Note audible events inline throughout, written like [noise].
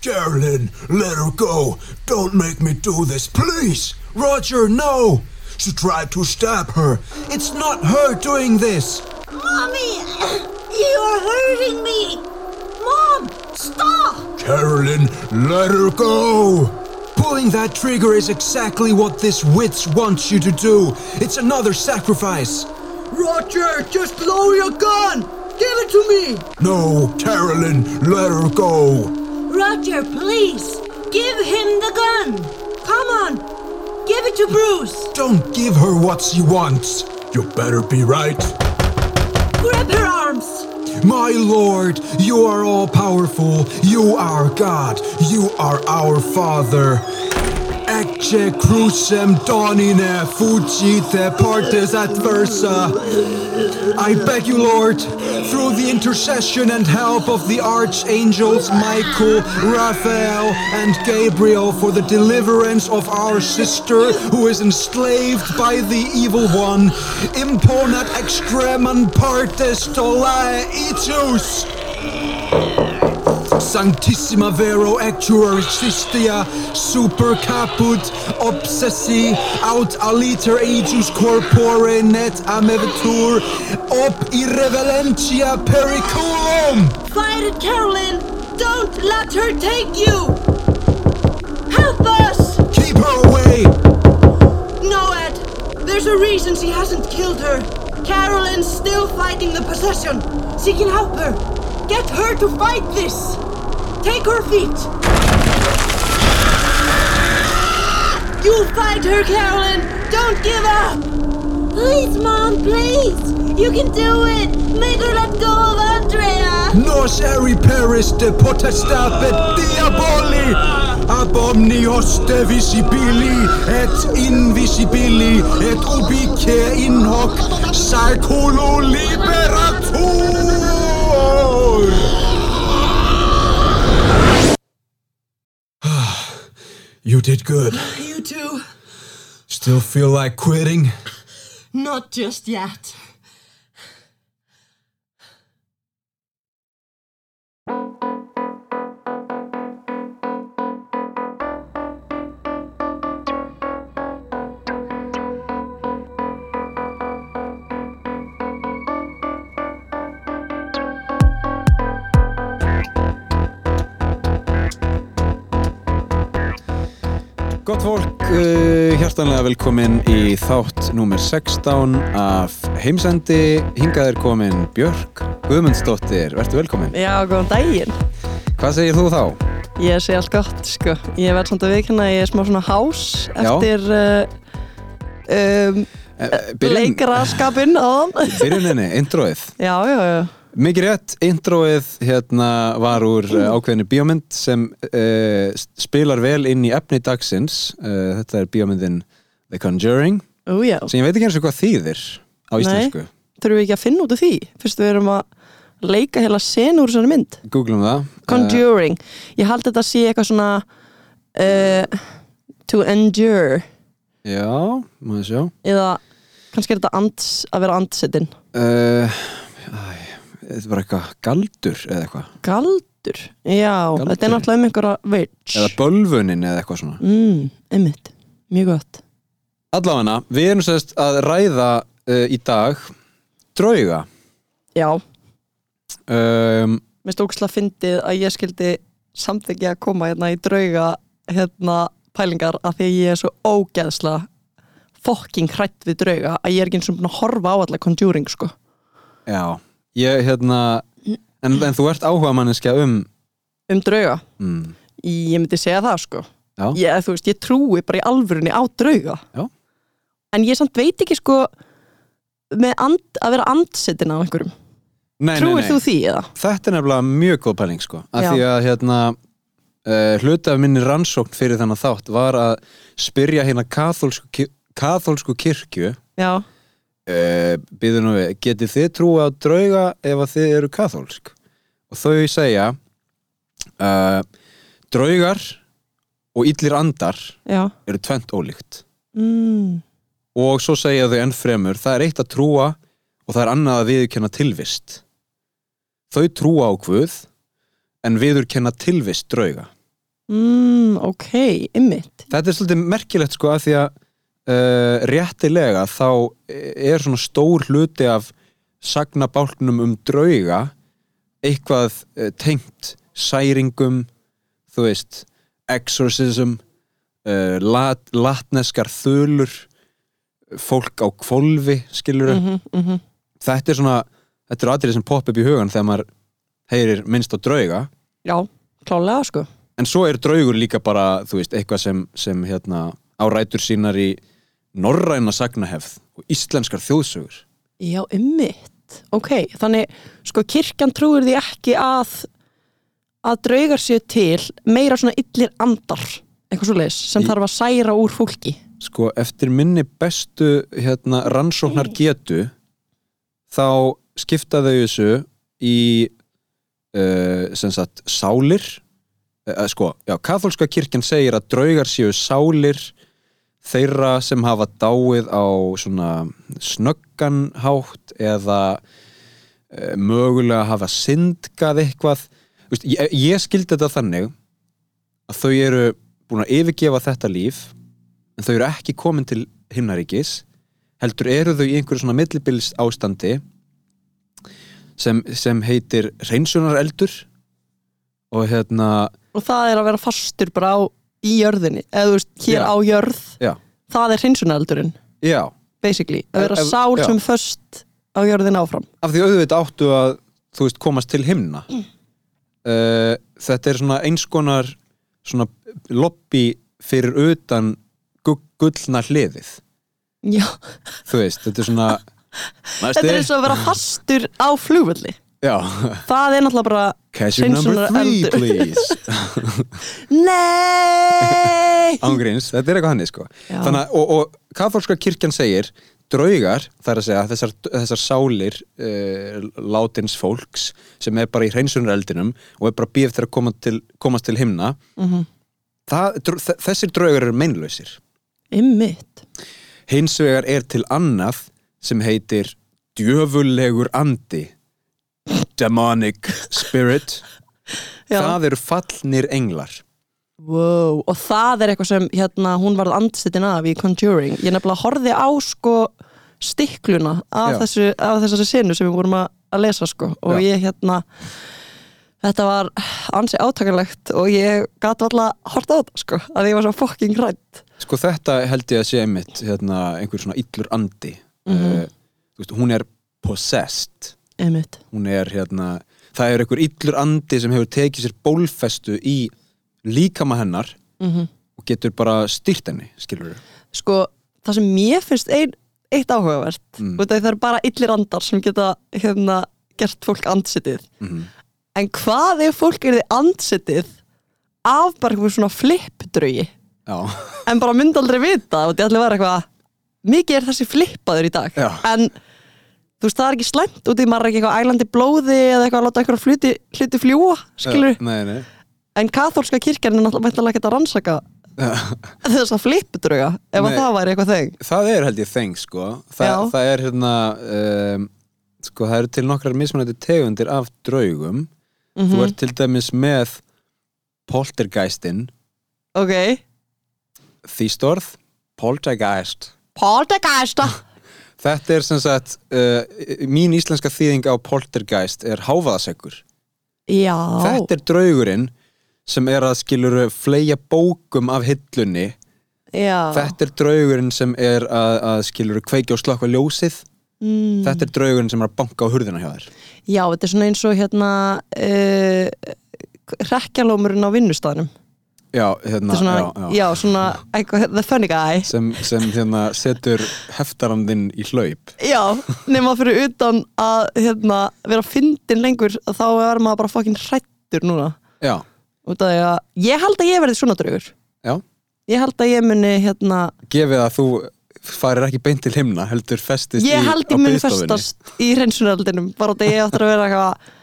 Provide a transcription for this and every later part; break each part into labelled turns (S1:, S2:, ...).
S1: Carolyn, let her go. Don't make me do this, please. Roger, no. She tried to stab her. It's not her doing this.
S2: Mommy, you're hurting me. Mom, stop.
S1: Carolyn, let her go. Pulling that trigger is exactly what this witch wants you to do. It's another sacrifice.
S3: Roger, just lower your gun. Give it to me.
S1: No, Carolyn, let her go.
S2: Roger, please. Give him the gun. Come on. Give it to Bruce.
S1: Don't give her what she wants. You better be right.
S2: Grab her arms.
S1: My Lord, you are all powerful. You are God. You are our Father. Ecce crucem domine fugite partes adversa. I beg you, Lord, through the intercession and help of the archangels Michael, Raphael, and Gabriel, for the deliverance of our sister who is enslaved by the evil one, imponat extremum partes tolae itus. Sanctissima Vero Actuaristia Super Caput Obsessi Aut Aliter Aegis Corpore Net Amevitur Op Irrevelentia Periculum
S2: Fight it, Carolyn. Don't let her take you. Help us.
S1: Keep her away!
S2: No, Ed. There's a reason she hasn't killed her. Carolyn's still fighting the possession. She can help her. Get her to fight this. Take her feet. You fight her, Carolyn. Don't give up. Please, Mom, please. You can do it. Make her let go of Andrea.
S1: Nos eri peris de potestat et diaboli ab omnios de visibili et invisibili et ubique in hoc saeculo liberatur [sighs] You did good.
S3: You two,
S1: Still feel like quitting?
S3: not just yet.
S4: Gott fólk, uh, hjartanlega velkomin í þátt númer 16 af heimsendi. Hingað er komin Björk Guðmundsdóttir, vertu velkomin.
S5: Já, góðan daginn.
S4: Hvað segir þú þá?
S5: Ég sé allt gott, sko. Ég verð samt að viðkynna að ég er smá svona hás
S4: Já.
S5: eftir uh, um,
S4: Uh,
S5: leikaraskapinn
S4: [laughs]
S5: áðan.
S4: Byrjuninni, introið.
S5: Já, já, já.
S4: Mikið rétt, introið hérna var úr
S5: Mm.
S4: uh, ákveðinu bíómynd sem uh, spilar vel inn í efni dagsins. Uh, þetta er bíómyndin The Conjuring,
S5: Ú, já.
S4: sem ég veit ekki eins og hvað þýðir á íslensku.
S5: Nei, þurfum við ekki að finna út af því. Fyrst við erum að leika heila sen úr þessari mynd.
S4: Googlum það.
S5: Conjuring. Ég hald þetta að sé eitthvað svona uh, to endure
S4: Uh, já, maður sjá.
S5: eða kannski er þetta ands, að vera andsettinn.
S4: Uh, æ, þetta var eitthvað galdur eða eitthvað
S5: Galdur. Já,
S4: Galdur.
S5: þetta er náttúrulega um einhverja vits.
S4: eða bölvunin eða eitthvað svona
S5: Mm, einmitt, mjög gott
S4: allavega, við erum sérst að ræða uh, í dag drauga
S5: Já, mér
S4: um,
S5: finnst ókslega fyndið að ég skildi samþykja að koma hérna í drauga hérna pælingar af því að ég er svo ógeðslega fokking hrætt við drauga að ég er ekki eins og búin að horfa á alla Conjuring sko
S4: já, ég hérna en, en þú ert áhuga manneskja um
S5: um drauga,
S4: mm,
S5: ég myndi segja það sko
S4: já,
S5: ég, þú veist, ég trúi bara í alvörunni á drauga
S4: Já.
S5: en ég samt veit ekki sko með and, að vera andsetin á einhverjum
S4: nei, nei,
S5: trúir
S4: nei.
S5: þú því eða?
S4: þetta er nefnilega mjög góð pæling sko af
S5: Já.
S4: því að hérna uh, hluti af minni rannsókn fyrir þennan þátt var að spyrja hérna kaþólsku, ki- kaþólsku kirkju
S5: Já,
S4: uh, býður nú við, getið þið trúið á drauga ef að þið eru kathólsk og þau segja uh, draugar og illir andar
S5: já
S4: eru tvent ólíkt
S5: mm.
S4: og svo segja þau enn fremur það er eitt að trúa og það er annað að viðurkenna tilvist þau trúa á hvud en viðurkenna tilvist drauga
S5: mm, ok, ymmit
S4: Þetta er svolítið merkilegt sko að því að uh, réttilega þá er svona stór hluti af sagnabálknum um drauga eitthvað uh, tengt særingum, þú veist exorcism uh, lat, latneskar þölur fólk á kvolfi skilur þetta er svona þetta er atrið sem popp upp í hugan þegar maður heyrir minnst á drauga
S5: já, klálega sko
S4: en svo er draugur líka bara þú veist, eitthvað sem, sem hérna, árætur sínar í norræna sagnahefð og íslenskar þjóðsögur
S5: já, ymmit, ok þannig, sko, kirkjan trúir því ekki að að draugar séu til meira svona illir andar eitthvað svo sem
S4: Í-
S5: þarf að særa úr fólki
S4: sko eftir minni bestu hérna, rannsóknar getu þá skipta þau þessu í uh, sem sagt sálir uh, sko, já, katholska kirkjan segir að draugar séu sálir þeirra sem hafa dáið á svona snögganhátt eða uh, mögulega hafa syndgað eitthvað Þú veist, ég, ég skildi þetta þannig að þau eru búin að yfirgefa þetta líf en þau eru ekki komin til himnaríkis heldur eru þau í einhverju svona millibils ástandi sem, sem heitir reynsunareldur og hérna
S5: og það er að vera fastur bara á í jörðinni, eða þú veist, hér
S4: Já.
S5: á jörð
S4: já,
S5: það er hreinsunareldurinn
S4: já,
S5: basically, að vera
S4: Ef- ef-
S5: sál
S4: já.
S5: sem föst á jörðin áfram
S4: af því auðvitað áttu að þú veist komast til himna [clears throat] mm. þetta er svona einskonar svona lobby fyrir utan gu- gullna hliðið
S5: já, [laughs]
S4: þú veist, þetta er svona
S5: þetta er eins og að vera fastur á flugvöldi
S4: já, [laughs]
S5: það er náttúrulega bara
S4: cashew number three
S5: hreinsunareldur.
S4: please
S5: Nei [laughs]
S4: ángríns, þetta er eitthvað hannig sko
S5: Já.
S4: Þannig, að- og, og katholska kirkjan segir draugar, það er að segja þessar, þessar sálir uh, látins fólks sem er bara í hreinsunareldinum og er bara bíf þegar að koma til, komast til himna
S5: Mhm.
S4: það, dr- þe- þessir draugar eru meinlausir
S5: Ymmit
S4: hins vegar er til annað sem heitir djöfullegur andi demonic
S5: [laughs]
S4: spirit
S5: Já.
S4: það eru fallnir englar
S5: wow. Og það er eitthvað sem hérna, hún varð andstættin af í Conjuring Ég nefnilega horfði á sko stikluna af,
S4: Já.
S5: þessu, af þessari sinu sem við vorum að, að lesa sko og
S4: Já.
S5: ég hérna Þetta var ansi átakalegt og ég gat alltaf hort á þetta sko að ég var svo fucking hrætt
S4: Sko þetta held ég að sé einmitt hérna, einhver svona illur andi mm
S5: Mhm.
S4: veist, hún er possessed
S5: Ymmit
S4: hún er hérna það er einhver illur andi sem hefur tekið sér bólfestu í líkama hennar -hmm. og getur bara styrt henni skilur
S5: sko, það sem mér finnst ein, eitt áhugavert
S4: Mm.
S5: út af því það eru bara illir andar sem geta hérna, gert fólk andsetið
S4: Mhm.
S5: en hvað ef fólk er þið andsetið af bara eitthvað svona flipdraugi
S4: Já,
S5: en bara myndi aldrei vita og því allir var eitthvað mikið er þessi flippaður í dag
S4: Já.
S5: en þú veist það er ekki slæmt út í maður er ekki eitthvað ælandi blóði eða eitthvað að láta eitthvað hluti, hluti fljúa skilur,
S4: Já, [laughs] nei, nei.
S5: en kathólska kirkjan er náttúrulega væntanlega ekkert að rannsaka þessa flipdrauga ef að
S4: Nei.
S5: það væri eitthvað þeng
S4: það er held ég þeng sko Þa,
S5: Já.
S4: það er hérna um, sko það eru til nokkrar mismunandi tegundir af draugum þú ert til dæmis með poltergeistin
S5: ok,
S4: þýst orð poltergeist
S5: Poltergeista
S4: þetta er sem sagt uh, mín íslenska þýðing á poltergeist er háfaðasegur
S5: Já
S4: þetta er draugurinn sem er að skilur fleja bókum af hillunni
S5: Já
S4: þetta er draugurinn sem er að, að skilur kveikja og slökva ljósið mm. þetta er draugurinn sem er að banka á hurðina hjá þér
S5: Já, þetta er svona eins og hérna uh, Rekkjalómurinn á vinnustæðnum
S4: já,
S1: Ah,
S4: hérna,
S5: Þetta er svona, já,
S4: já, já.
S5: svona eitthvað, The funny guy
S4: Sem, sem hérna setur heftarandinn í hlaup
S5: Já, nema fyrir utan að hérna, vera fyndin lengur þá er maður bara fokkin hrættur núna
S4: já,
S5: út af því að ég held að ég verði svona draugur
S4: já
S5: Ég held að ég muni hérna
S4: gefið að þú farir ekki beint til himna heldur festist
S5: Ég
S4: í,
S5: held
S4: á
S5: ég muni
S4: biðstofunni.
S5: festast í hreinsunaraldinum bara út af því ég á eftir að vera eitthvað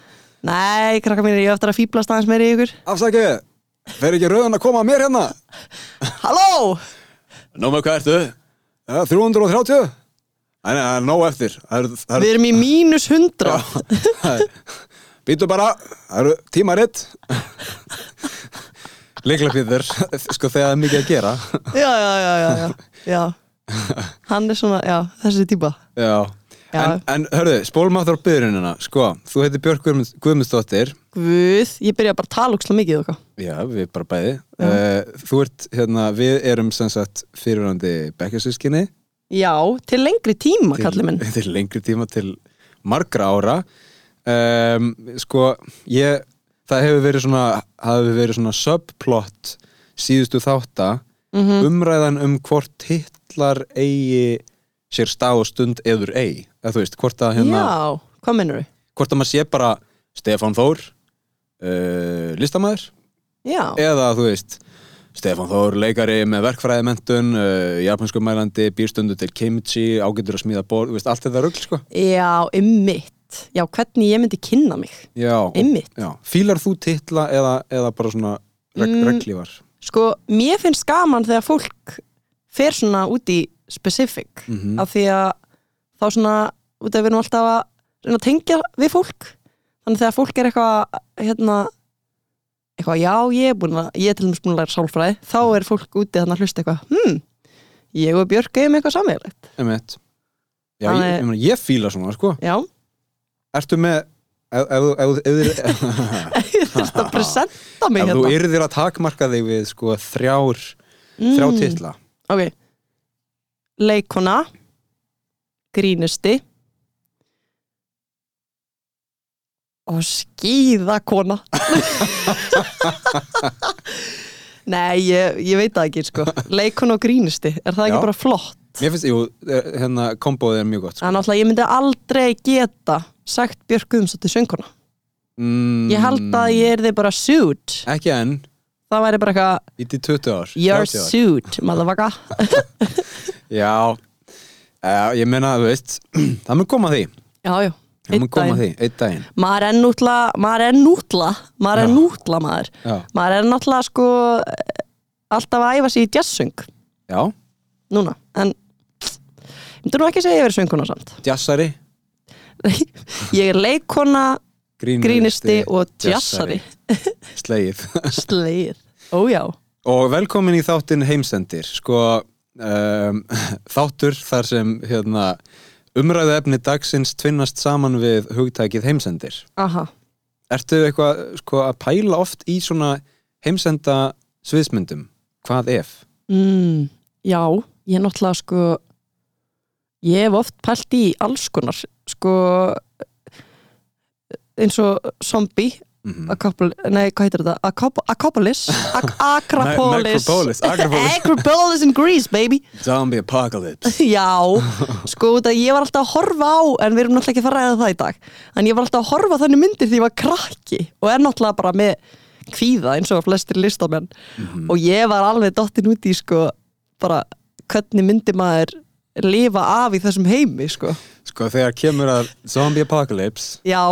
S5: Nei, krakka mínir, ég á eftir að fýblast aðeins meira í ykkur
S4: afsakið, fer ekki rauðan að koma að mér hérna
S5: Halló!
S4: Númer hvað ertu? 330 Nei, nei, það er nóg eftir Það eru- það
S5: Við
S4: eru-
S5: erum í mínus hundra
S4: það er- Býtu bara, það eru tímaritt Leiklafýður, sko þegar það er mikið að gera
S5: [laughs] já, já, já, já, já, já. Hann er svona, já, þessi típa
S4: Já,
S5: Já.
S4: En, en hörðu, spólum aftur á byrjunina Sko, þú heitir Björk Guðmund, Guðmundsdóttir
S5: Guð, ég byrja bara að tala úkslega mikið okkar
S4: Já, við bara bæði uh, Þú ert, hérna, við erum sem sagt fyrirvændi bekkjarsískinni
S5: Já, til lengri tíma, kallið minn
S4: til lengri tíma til margra ára um, Sko, ég það hefur verið svona, hafi verið svona subplot síðustu þátta umræðan um hvort hitlar eigi sér stað og stund eður eigi eða þú veist, hvort að hérna
S5: Já, hvað minnur við?
S4: hvort að maður sé bara Stefán Þór uh, listamæður
S5: Já,
S4: eða þú veist Stefán Þór leikari með verkfræðimentun uh, japansku mælandi, býrstundu til kimchi ágætur að smíða borð, þú veist, allt þetta rugl sko.
S5: já, ymmit Já, hvernig ég myndi kynna mig
S4: já, og-
S5: Einmitt.
S4: já. fílar þú titla eða, eða bara svona reg,
S5: Mm.
S4: reglívar
S5: Sko, mér finnst gaman þegar fólk fer svona út í specific
S4: Mhm.
S5: af því að þá svona, út af við erum alltaf að reyna að tengja við fólk þannig þegar fólk er eitthvað hérna, eitthvað, já, ég er búin að ég er til dæmis búin að læra sálfræði, þá
S4: Mm.
S5: er fólk úti þannig að hlusta eitthvað, hm ég og Björk eigum eitthvað samvegilegt
S4: Einmitt. já, ég,
S5: Þannig-
S4: ég, meina, ég fíla svona sko.
S5: Já, [laughs]
S4: ertu með ef, ef, þú- ef, þú- ef,
S5: [laughs]
S4: ef,
S5: ég
S4: [laughs]
S5: þurfti að presenta mig
S4: ef þú
S5: hérna
S4: yrðir að takmarka þig við sko, þrjár, þrjá
S5: Mm.
S4: titla
S5: Ok Leikona Grínusti
S4: [laughs]
S5: Og skýðakona Nei, ég, ég veit það ekki sko Leikona og grínusti, er það
S4: Já.
S5: ekki bara flott?
S4: Mér finnst, jú, eh, hérna, komboðið er mjög gott sko.
S5: Þannig að ég myndi aldrei geta sagt Björk Guðumsdóttir sönguna
S4: mm,
S5: Ég held að ég er þið bara suit
S4: Ekki enn,
S5: Það væri bara eitthvað
S4: ít í 20 ár
S5: You're
S4: 30 ár.
S5: suit, motherfucker
S4: Já, uh, ég meina, þú veist [clears throat] Það mun koma að því
S5: Já, já
S4: Það mun koma að
S5: daginn.
S4: því, einn daginn
S5: maður er nútla maður er nútla maður er
S4: Já.
S5: nútla maður
S4: Já,
S5: maður er náttúrulega sko eh, alltaf að æfa sig í jazzsöng
S4: já
S5: núna en ég myndi nú ekki segja að ég verið söngkona samt [laughs]
S4: jazzari
S5: ég er leikona,
S4: Grínisti,
S5: grínisti og jazzari
S4: Slegið [laughs]
S5: sleið, ójá
S4: Og velkomin í þáttinn heimsendir Sko, um, [laughs] þáttur þar sem hérna, umræðu efni dagsins tvinnast saman við hugtækið heimsendir
S5: aha,
S4: Ertu eitthvað sko, að pæla oft í svona heimsenda sviðsmyndum? Hvað ef?
S5: mm, já ég er náttúrulega sko ég hef oft pælt í alls konar sko eins og zombie
S4: Mhm.
S5: Acropol, nei, hvað heitir þetta? Acrop Acropolis?
S4: [laughs]
S5: Ac Acropolis.
S4: Necropolis, Acropolis.
S5: [laughs] Acropolis in Greece, baby.
S4: Zombie apocalypse
S5: [laughs] Já, sko, út að ég var alltaf að horfa á, en við erum náttúrulega ekki að fara að ræða það í dag, en ég var alltaf að horfa á þannig myndir því ég var krakki og er náttúrulega bara með kvíða eins og flestir listamenn
S4: Mhm.
S5: og ég var alveg dottin út í, sko, bara hvernig myndi maður lifa af í þessum heimi, sko.
S4: Sko þegar kemur að zombie apocalypse
S5: Já,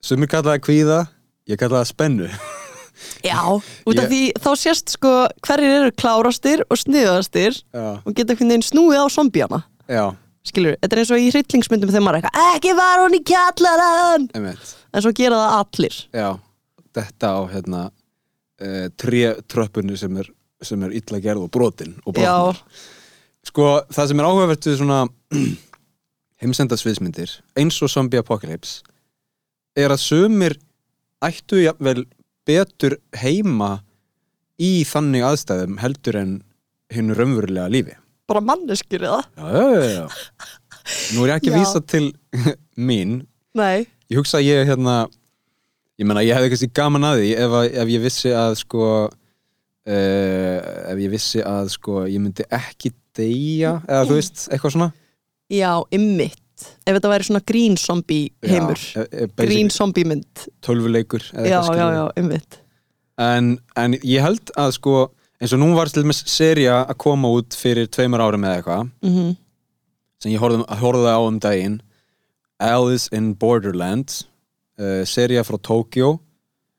S4: Sumir kalla það kvíða, ég kalla það spennu
S5: já, út
S4: Ég-
S5: af því þá sést, sko, hverjir eru klárastir og sniðastir
S4: Já,
S5: og geta einhvern veginn snúið á zombjana
S4: já,
S5: skilur, þetta er eins og í hryllingsmyndum þegar maður er eitthvað, ekki var hún í kjallarann
S4: emitt
S5: en svo gera það allir
S4: Já, þetta á hérna uh, tré tröppunni sem er, sem er illa gerð og brotin og
S5: já,
S4: brotnar. Sko það sem er áhugavert við svona [clears throat] heimsenda sviðsmyndir eins og zombie apocalypse er að sumir ættu jafnvel betur heima í þannig aðstæðum heldur en hinn raunverulega lífi
S5: bara manneskjur eða
S4: Já, já, já, já. Nú er ég ekki
S5: Já.
S4: að vísa til [laughs] mín.
S5: nei,
S4: Ég hugsa að ég hérna, ég meina ég hefði kannski gaman að því ef, að, ef ég vissi að sko, uh, ef ég vissi að sko, ég myndi ekki deyja, eða þú veist, eitthvað svona.
S5: já, ymmit ef þetta væri svona grín zombie heimur
S4: Já, e- e- basic
S5: grín zombie mynd
S4: Tölvuleikur. eða
S5: já,
S4: eitthvað
S5: já,
S4: skilur.
S5: já, ymmit
S4: En, en ég held að sko, eins og nú var til dæmis seria að koma út fyrir tveimur árum eða eitthvað.
S5: mm
S4: sem ég horfði, horfði á um daginn Alice in Borderland uh, seria frá Tokyo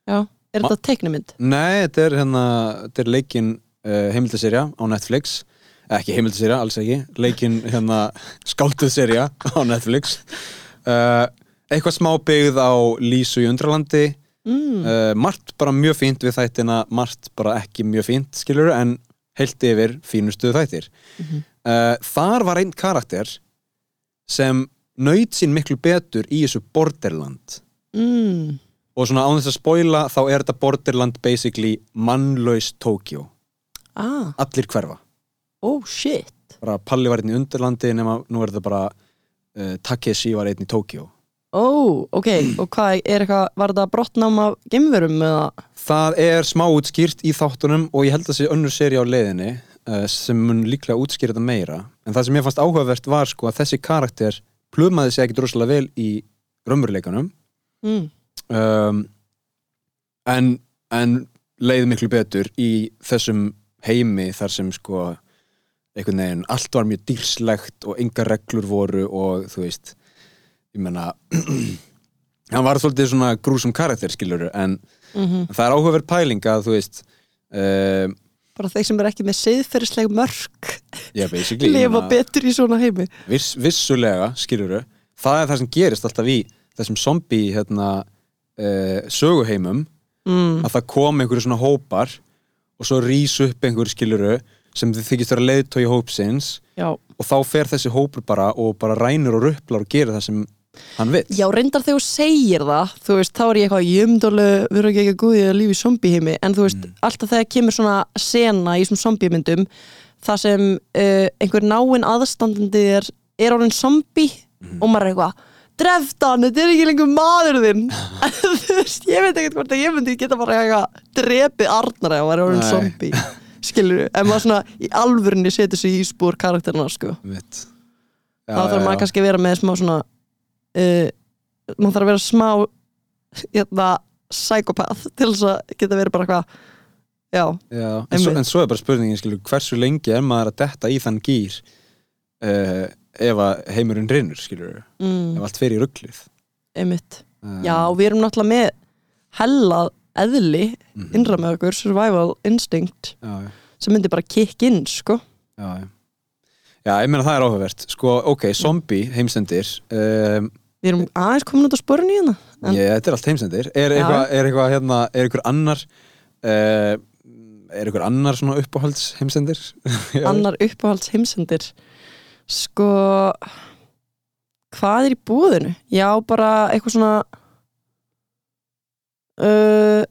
S5: já. er
S4: Ma-
S5: þetta teiknumynd?
S4: Nei, þetta er, hérna, þetta er leikin uh, heimildaserja á Netflix ekki heimildaserja, alls ekki leikin hérna, skálduðserja Eh, á Netflix uh, eitthvað smá byggð á Lísu í Undralandi mm. margt bara mjög fínt við þættina margt bara ekki mjög fínt skilur en heilt yfir fínustu þættir mm þar var einn karakter sem nöyt sín miklu betur í þessu borderland
S5: mm.
S4: og svona án þess að spoila þá er þetta borderland basically mannlaus Tokyo
S5: Ah,
S4: allir hverfa
S5: oh shit
S4: bara Palli var einn í Underlandi nema nú er þetta bara uh, Takeshi var einn í Tokyo
S5: Ó, Oh, ok, og hvað er eitthvað, var þetta brottnám af gemverum eða?
S4: það er smá útskýrt í þáttunum og ég held að sé önnur seri á leiðinni uh, sem mun líklega útskýra þetta meira en það sem ég fannst áhugavert var sko að þessi karakter plumaði sig ekkit rosalega vel í raumurleikanum
S5: Mm.
S4: um, en, en leið miklu betur í þessum heimi þar sem sko einhvern veginn allt var mjög dýrslegt og engar reglur voru og þú veist ég menna [clears throat] hann var svolítið svona grúsum karakter skilur en það er áhugaverð pæling að þú veist um,
S5: Bara þeir sem er ekki með siðferðisleg mörk
S4: yeah, basically ég
S5: lifa
S4: meina,
S5: betur í svona heimi
S4: viss, vissulega skilur það er það sem gerist alltaf í þessum zombie hérna, uh, söguheimum
S5: mm.
S4: að það kom einhverju svona hópar og svo rís upp einhverju skiluru sem þið þykist vera leiðtói hópsins
S5: Já,
S4: og þá fer þessi hópur bara og bara rænir og röplar og gerir það sem hann vill
S5: Já, reyndar þegar þú segir það, þú veist, þá er ég eitthvað jömdalega, við erum ekki ekki góðið að lífi í zombieheimi, en þú veist, alltaf þegar kemur svona sena í svona zombiemyndum, það sem uh, einhver náinn aðstandandi er, er orðin zombie og maður er eitthvað, dreft hann, þetta er ekki lengur maður þinn. þú veist, ég veit ekkert hvort að ég myndi geta bara eitthvað drepið Arnar ef maður er orðin
S4: Nei.
S5: zombie, skilur en maður svona í alvörinni setur sig í spór karakterina, sko
S4: Mitt. já,
S5: þá þarf
S4: já,
S5: maður
S4: já.
S5: kannski að vera með smá svona uh, maður þarf að vera smá hérna psykopath til þess að geta verið bara eitthvað já,
S4: Já, en, svo,
S5: Einmitt.
S4: en svo er bara spurningin skilur, hversu lengi er maður að detta í þann gýr uh, ef að heimurinn rinnur skilur,
S5: mm,
S4: ef allt fer í rugglið
S5: einmitt
S4: uh,
S5: já, við erum náttúrulega með hella eðli
S4: Mhm.
S5: innra með okkur, survival instinct
S4: já, já.
S5: sem myndi bara kick in, sko
S4: Já, já. já, ég meina það er áhugavert sko, ok, zombie heimsendir um,
S5: við erum aðeins komin út á sporinu hérna en,
S4: Ég, þetta er allt heimsendir Er
S5: Já.
S4: eitthvað, er eitthvað hérna, er eitthvað annar uh, Er eitthvað annar svona uppáhalds heimsendir? Já.
S5: annar uppáhalds heimsendir sko hvað er í búðinu? Já, bara eitthvað svona uh,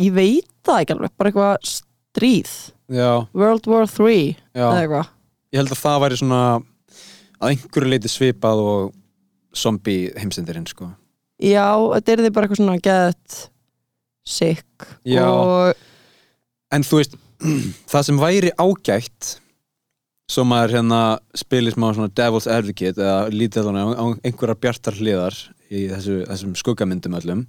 S5: ég veit það ekki alveg, bara eitthvað stríð
S4: já,
S5: World War 3
S4: já
S5: eða eitthvað
S4: Ég held að það væri svona að einhverju leiti svipað og zombie heimsendirinn sko
S5: Já, þetta er þið bara eitthvað svona get sick
S4: Já.
S5: og
S4: En þú veist, [clears throat] það sem væri ágætt svo maður hérna spilir smá svona devil's advocate eða lítið á, á einhverjar bjartar hliðar í þessu, þessum skuggamyndum öllum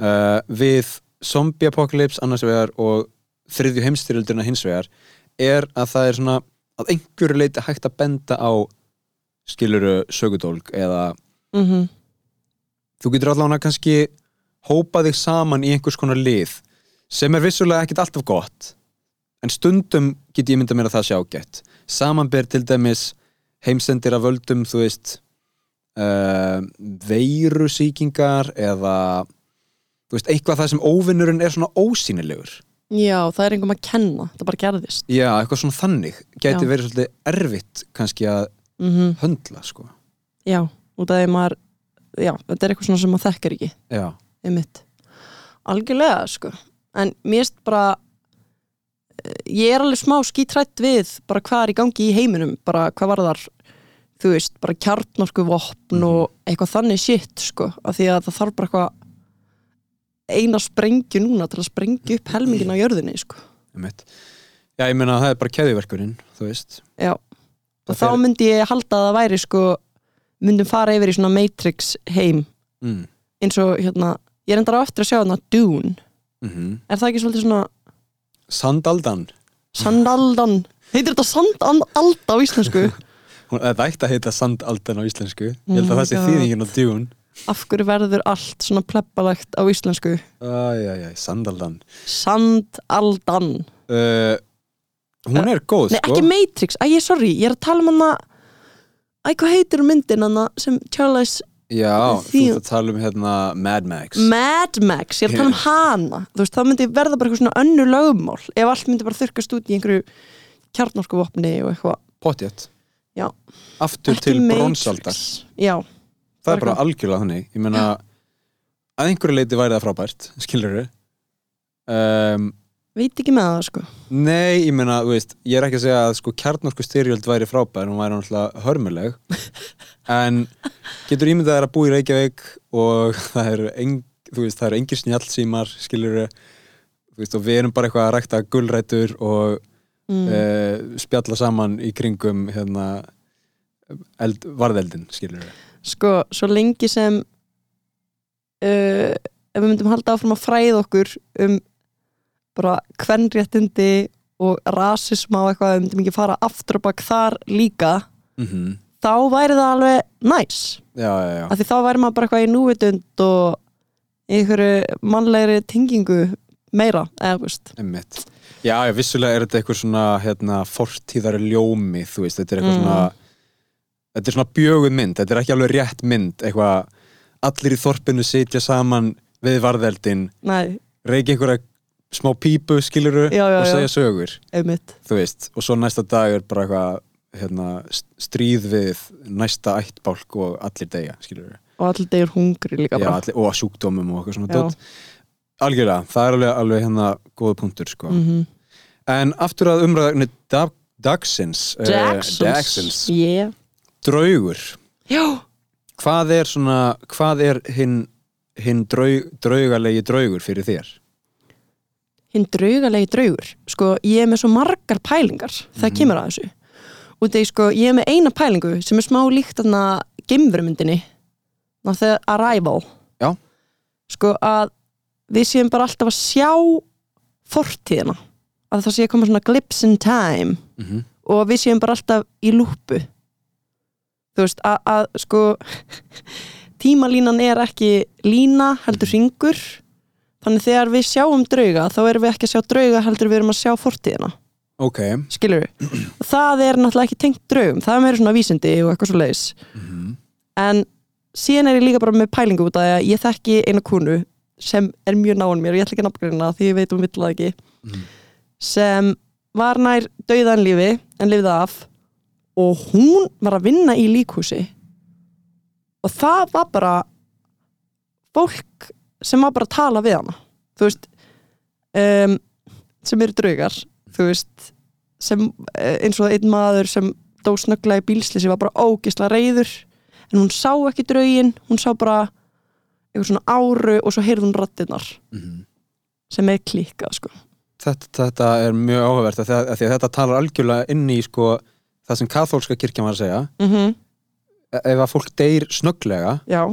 S4: uh, við zombie apocalypse annars vegar og þriðju heimstyrjöldurna hins vegar er að það er svona að einhverju leiti hægt að benda á skiluru sögudólg eða
S5: mm
S4: þú getur allavega kannski hópað þig saman í einhvers konar lið sem er vissulega ekkit alltaf gott en stundum get ég myndað mér að það sé ágætt samanber til dæmis heimsendir af völdum þú veist uh, veirusýkingar eða þú veist, eitthvað það sem óvinnurinn er svona ósýnilegur
S5: já, það er einhverjum að kenna það bara gerðist
S4: já, eitthvað svona þannig gæti
S5: Já.
S4: verið svolítið erfitt kannski að
S5: mm
S4: höndla sko.
S5: Já, út af því maður já, þetta er eitthvað svona sem maður þekkir ekki
S4: já,
S5: einmitt algjörlega sko en mér erst bara eh, ég er alveg smá skítrætt við bara hvað er í gangi í heiminum bara hvað var þar þú veist, bara kjarnorku vopn og eitthvað þannig shit sko af því að það þarf bara eitthvað eina sprengju núna til að sprengju upp helmingin á jörðinni sko
S4: einmitt já, ég meina það er bara keðiverkurinn þú veist
S5: já, og
S4: Það
S5: þá
S4: fer-
S5: myndi ég halda að það væri sko myndum fara yfir í svona Matrix heim
S4: mm.
S5: eins og hérna, ég er endara aftur að sjá hérna Dune,
S4: Mm
S5: er það ekki svolítið svona
S4: Sandaldan
S5: Sandaldan Heitir þetta Sandalda á
S4: [laughs]
S5: íslensku?
S4: Hún, það ætti að heita Sandaldan á íslensku Ég held
S5: Oh
S4: að
S5: my
S4: það sé
S5: God.
S4: þýðingin á djún
S5: Af hverju verður allt svona pleppalegt á íslensku?
S4: Æjæjæj, Sandaldan
S5: Sandaldan
S4: uh, Hún er góð,
S5: Nei,
S4: sko
S5: ekki Matrix, æ, ég sorry Ég er að tala um hana Æ, hvað heitir hún myndin hana sem Charles
S4: Já, þú
S5: Því-
S4: ert að tala um hérna Mad Max
S5: Mad Max, ég er að tala um hana þú veist, það myndi verða bara eitthvað svona önnu lögumál ef allt myndi bara þurrkast út í einhverju kjarnorkuvopni og eitthvað
S4: Potjett,
S5: já,
S4: aftur
S5: Ekki
S4: til
S5: Matrix. sko.
S4: bronsaldar
S5: já,
S4: Það er bara algjörlega þannig Ég meina, að einhverju leiti væri það frábært Skilur við um,
S5: veit ekki með það sko
S4: Nei, ég meina, þú veist, ég er ekki að segja að sko kjarnorku styrjöld væri frábær, hún væri náttúrulega hörmuleg, en getur ímyndað þér að búa í Reykjavík og [laughs] það eru eng, þú veist, það eru engir snjallsímar, skilur þú veist, og við erum bara eitthvað að rækta gulrætur og mm. spjalla saman í kringum, hérna, eld, varðeldin, skilur
S5: sko, svo lengi sem uh, ef við myndum halda áfram að fræða okkur um bara kvennréttindi og rasisma og eitthvað, ef við myndum ekki fara aftur og bak þar líka
S4: mm -hmm.
S5: þá væri það alveg næs nice.
S4: Já, já, já.
S5: af því þá væri maður bara eitthvað í núvitund og í einhverju mannlegri tengingu meira, eða þú veist
S4: Einmitt. Já, já, vissulega er þetta eitthvað svona hérna, fortíðari ljómi, þú veist, þetta er eitthvað svona þetta er svona bjöguð mynd, þetta er ekki alveg rétt mynd, eitthvað allir í þorpinu sitja saman við varðeldin,
S5: nei,
S4: reiki einhverja smá pípu, skiluru,
S5: Já, já,
S4: og
S5: já.
S4: segja sögur,
S5: einmitt
S4: þú veist, og svo næsta dag er bara eitthvað hérna, st- stríð við næsta ættbálk og allir deyja, skiluru
S5: og allir degir hungri líka
S4: já,
S5: bara
S4: allir, og sjúkdómum og eitthvað svona
S5: Já.
S4: dót. algjörlega, það er alveg, alveg hérna góða punktur sko
S5: Mhm.
S4: en aftur að umræðinu dag, dagsins, eh,
S5: Jacksons,
S4: dagsins
S5: yeah.
S4: draugur,
S5: já,
S4: hvað er svona hvað er hinn hinn draug, draugalegi draugur fyrir þér
S5: hinn draugalegi draugur sko, ég er með svo margar pælingar það
S4: Mhm.
S5: kemur að þessu og þegar sko, ég er með eina pælingu sem er smá líkt þarna geimverumyndinni ná þegar Arrival
S4: Já.
S5: sko að við séum bara alltaf að sjá fortíðina að það sé að koma svona glips in time
S4: Mhm.
S5: og við séum bara alltaf í lúpu þú veist að, að sko [laughs] tímalínan er ekki lína heldur ringur þannig þegar við sjáum drauga þá erum við ekki að sjá drauga heldur við erum að sjá fortíðina
S4: ok,
S5: skilur við og það er náttúrulega ekki tengt draugum það er meira svona vísindi og eitthvað svo leiðis en síðan er ég líka bara með pælingu út af því að ég þekki eina konu sem er mjög náinn mér og ég ætla ekki að nafngreina því ég veit um vill það ekki sem var nær dauðan lífi en lifið af og hún var að vinna í líkhúsi og það var bara fólk sem var bara að tala við hana þú veist um, sem eru draugar þú veist sem, eh, eins og einn maður sem dó snögglega í bílslýsi var bara ógisla reyður en hún sá ekki draugin hún sá bara eitthvað svona áru og svo heyrði hún rattinnar
S4: Mhm.
S5: sem er klíkað sko
S4: þetta, þetta er mjög áhugavert af því að, af því að þetta talar algjörlega inn í sko, það sem kathólska kirkja var að segja
S5: mm
S4: E- ef að fólk deyr snögglega
S5: já,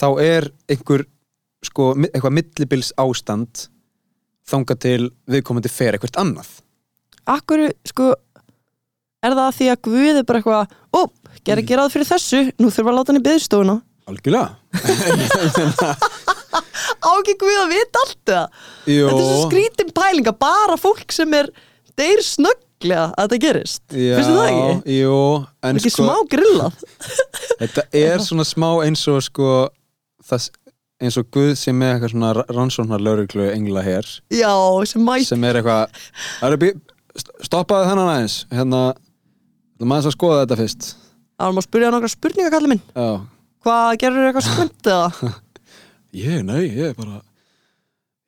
S4: þá er einhver sko, mi- eitthvað millibils ástand þanga til viðkomandi fer eitthvað annað
S5: akkur sko er það því að Guð er bara eitthvað ó,
S4: Mm.
S5: gerði ekki ráð fyrir þessu nú þurfum við að láta hann í byðstofuna
S4: algjörlega
S5: [laughs] á ekki Guð að vita allt það
S4: Jó,
S5: þetta er svo skrítin pælinga bara fólk sem er deyr snögglega að þetta gerist finnst þið það ekki?
S4: Jú, en
S5: ekki
S4: sko,
S5: smá grillað
S4: þetta er svona smá eins og sko það, s- eins og Guð sem er eitthvað svona rannsóknar lauruglu engla hér
S5: já, sem mætt
S4: sem er eitthvað "Það eru bí- st- stoppaðu þennan aðeins hérna, þú maður að skoða þetta fyrst
S5: Það var maður að spyrja nokkra spurningar, kallið minn.
S4: Já,
S5: Hvað gerur eitthvað skvönd
S4: [laughs]
S5: eða?
S4: ég, nei, ég er bara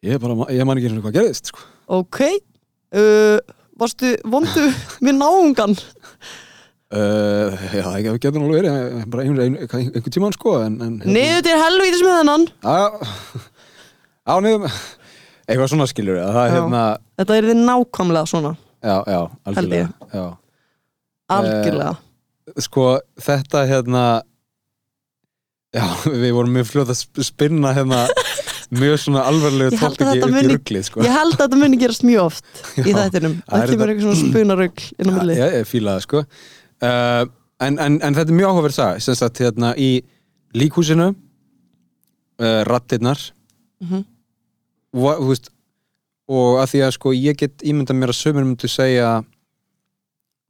S4: ég er bara, ma- ég man ekki einu sinni hvað gerðist sko.
S5: Ok. Uh, varstu vondu við náungan?
S4: Uh, já, það getur- getur nú alveg verið bara einhvern ein, ein, ein, tímann sko en, en,
S5: Niður til helvítis með hennan.
S4: Já, á niður eitthvað svona skilur við það er
S5: Já.
S4: hérna,
S5: Þetta er þið nákvæmlega svona.
S4: já, já,
S5: ég.
S4: algjörlega já. Eh,
S5: Algjörlega.
S4: Sko, þetta hérna já, við vorum mjög fljóð að sp- spinna
S5: [laughs]
S4: hérna mjög svona alvarlegu
S5: Ég held að
S4: tókaki
S5: þetta
S4: upp í
S5: muni-
S4: ruglið sko.
S5: Ég held að þetta muni gerast mjög
S4: [laughs]
S5: oft í
S4: Já,
S5: þættinum.
S4: það
S5: Það
S4: er
S5: kemur
S4: þetta-
S5: eitthvað svona spunarugl inn á
S4: Já,
S5: milli.
S4: ég, ég fíla það sko uh, en, en, en þetta er mjög áhugaverð sag sem sagt hérna í líkhúsinu uh, rattirnar
S5: Mhm.
S4: og, þú veist, og að því að sko ég get ímyndað mér að sömur myndu segja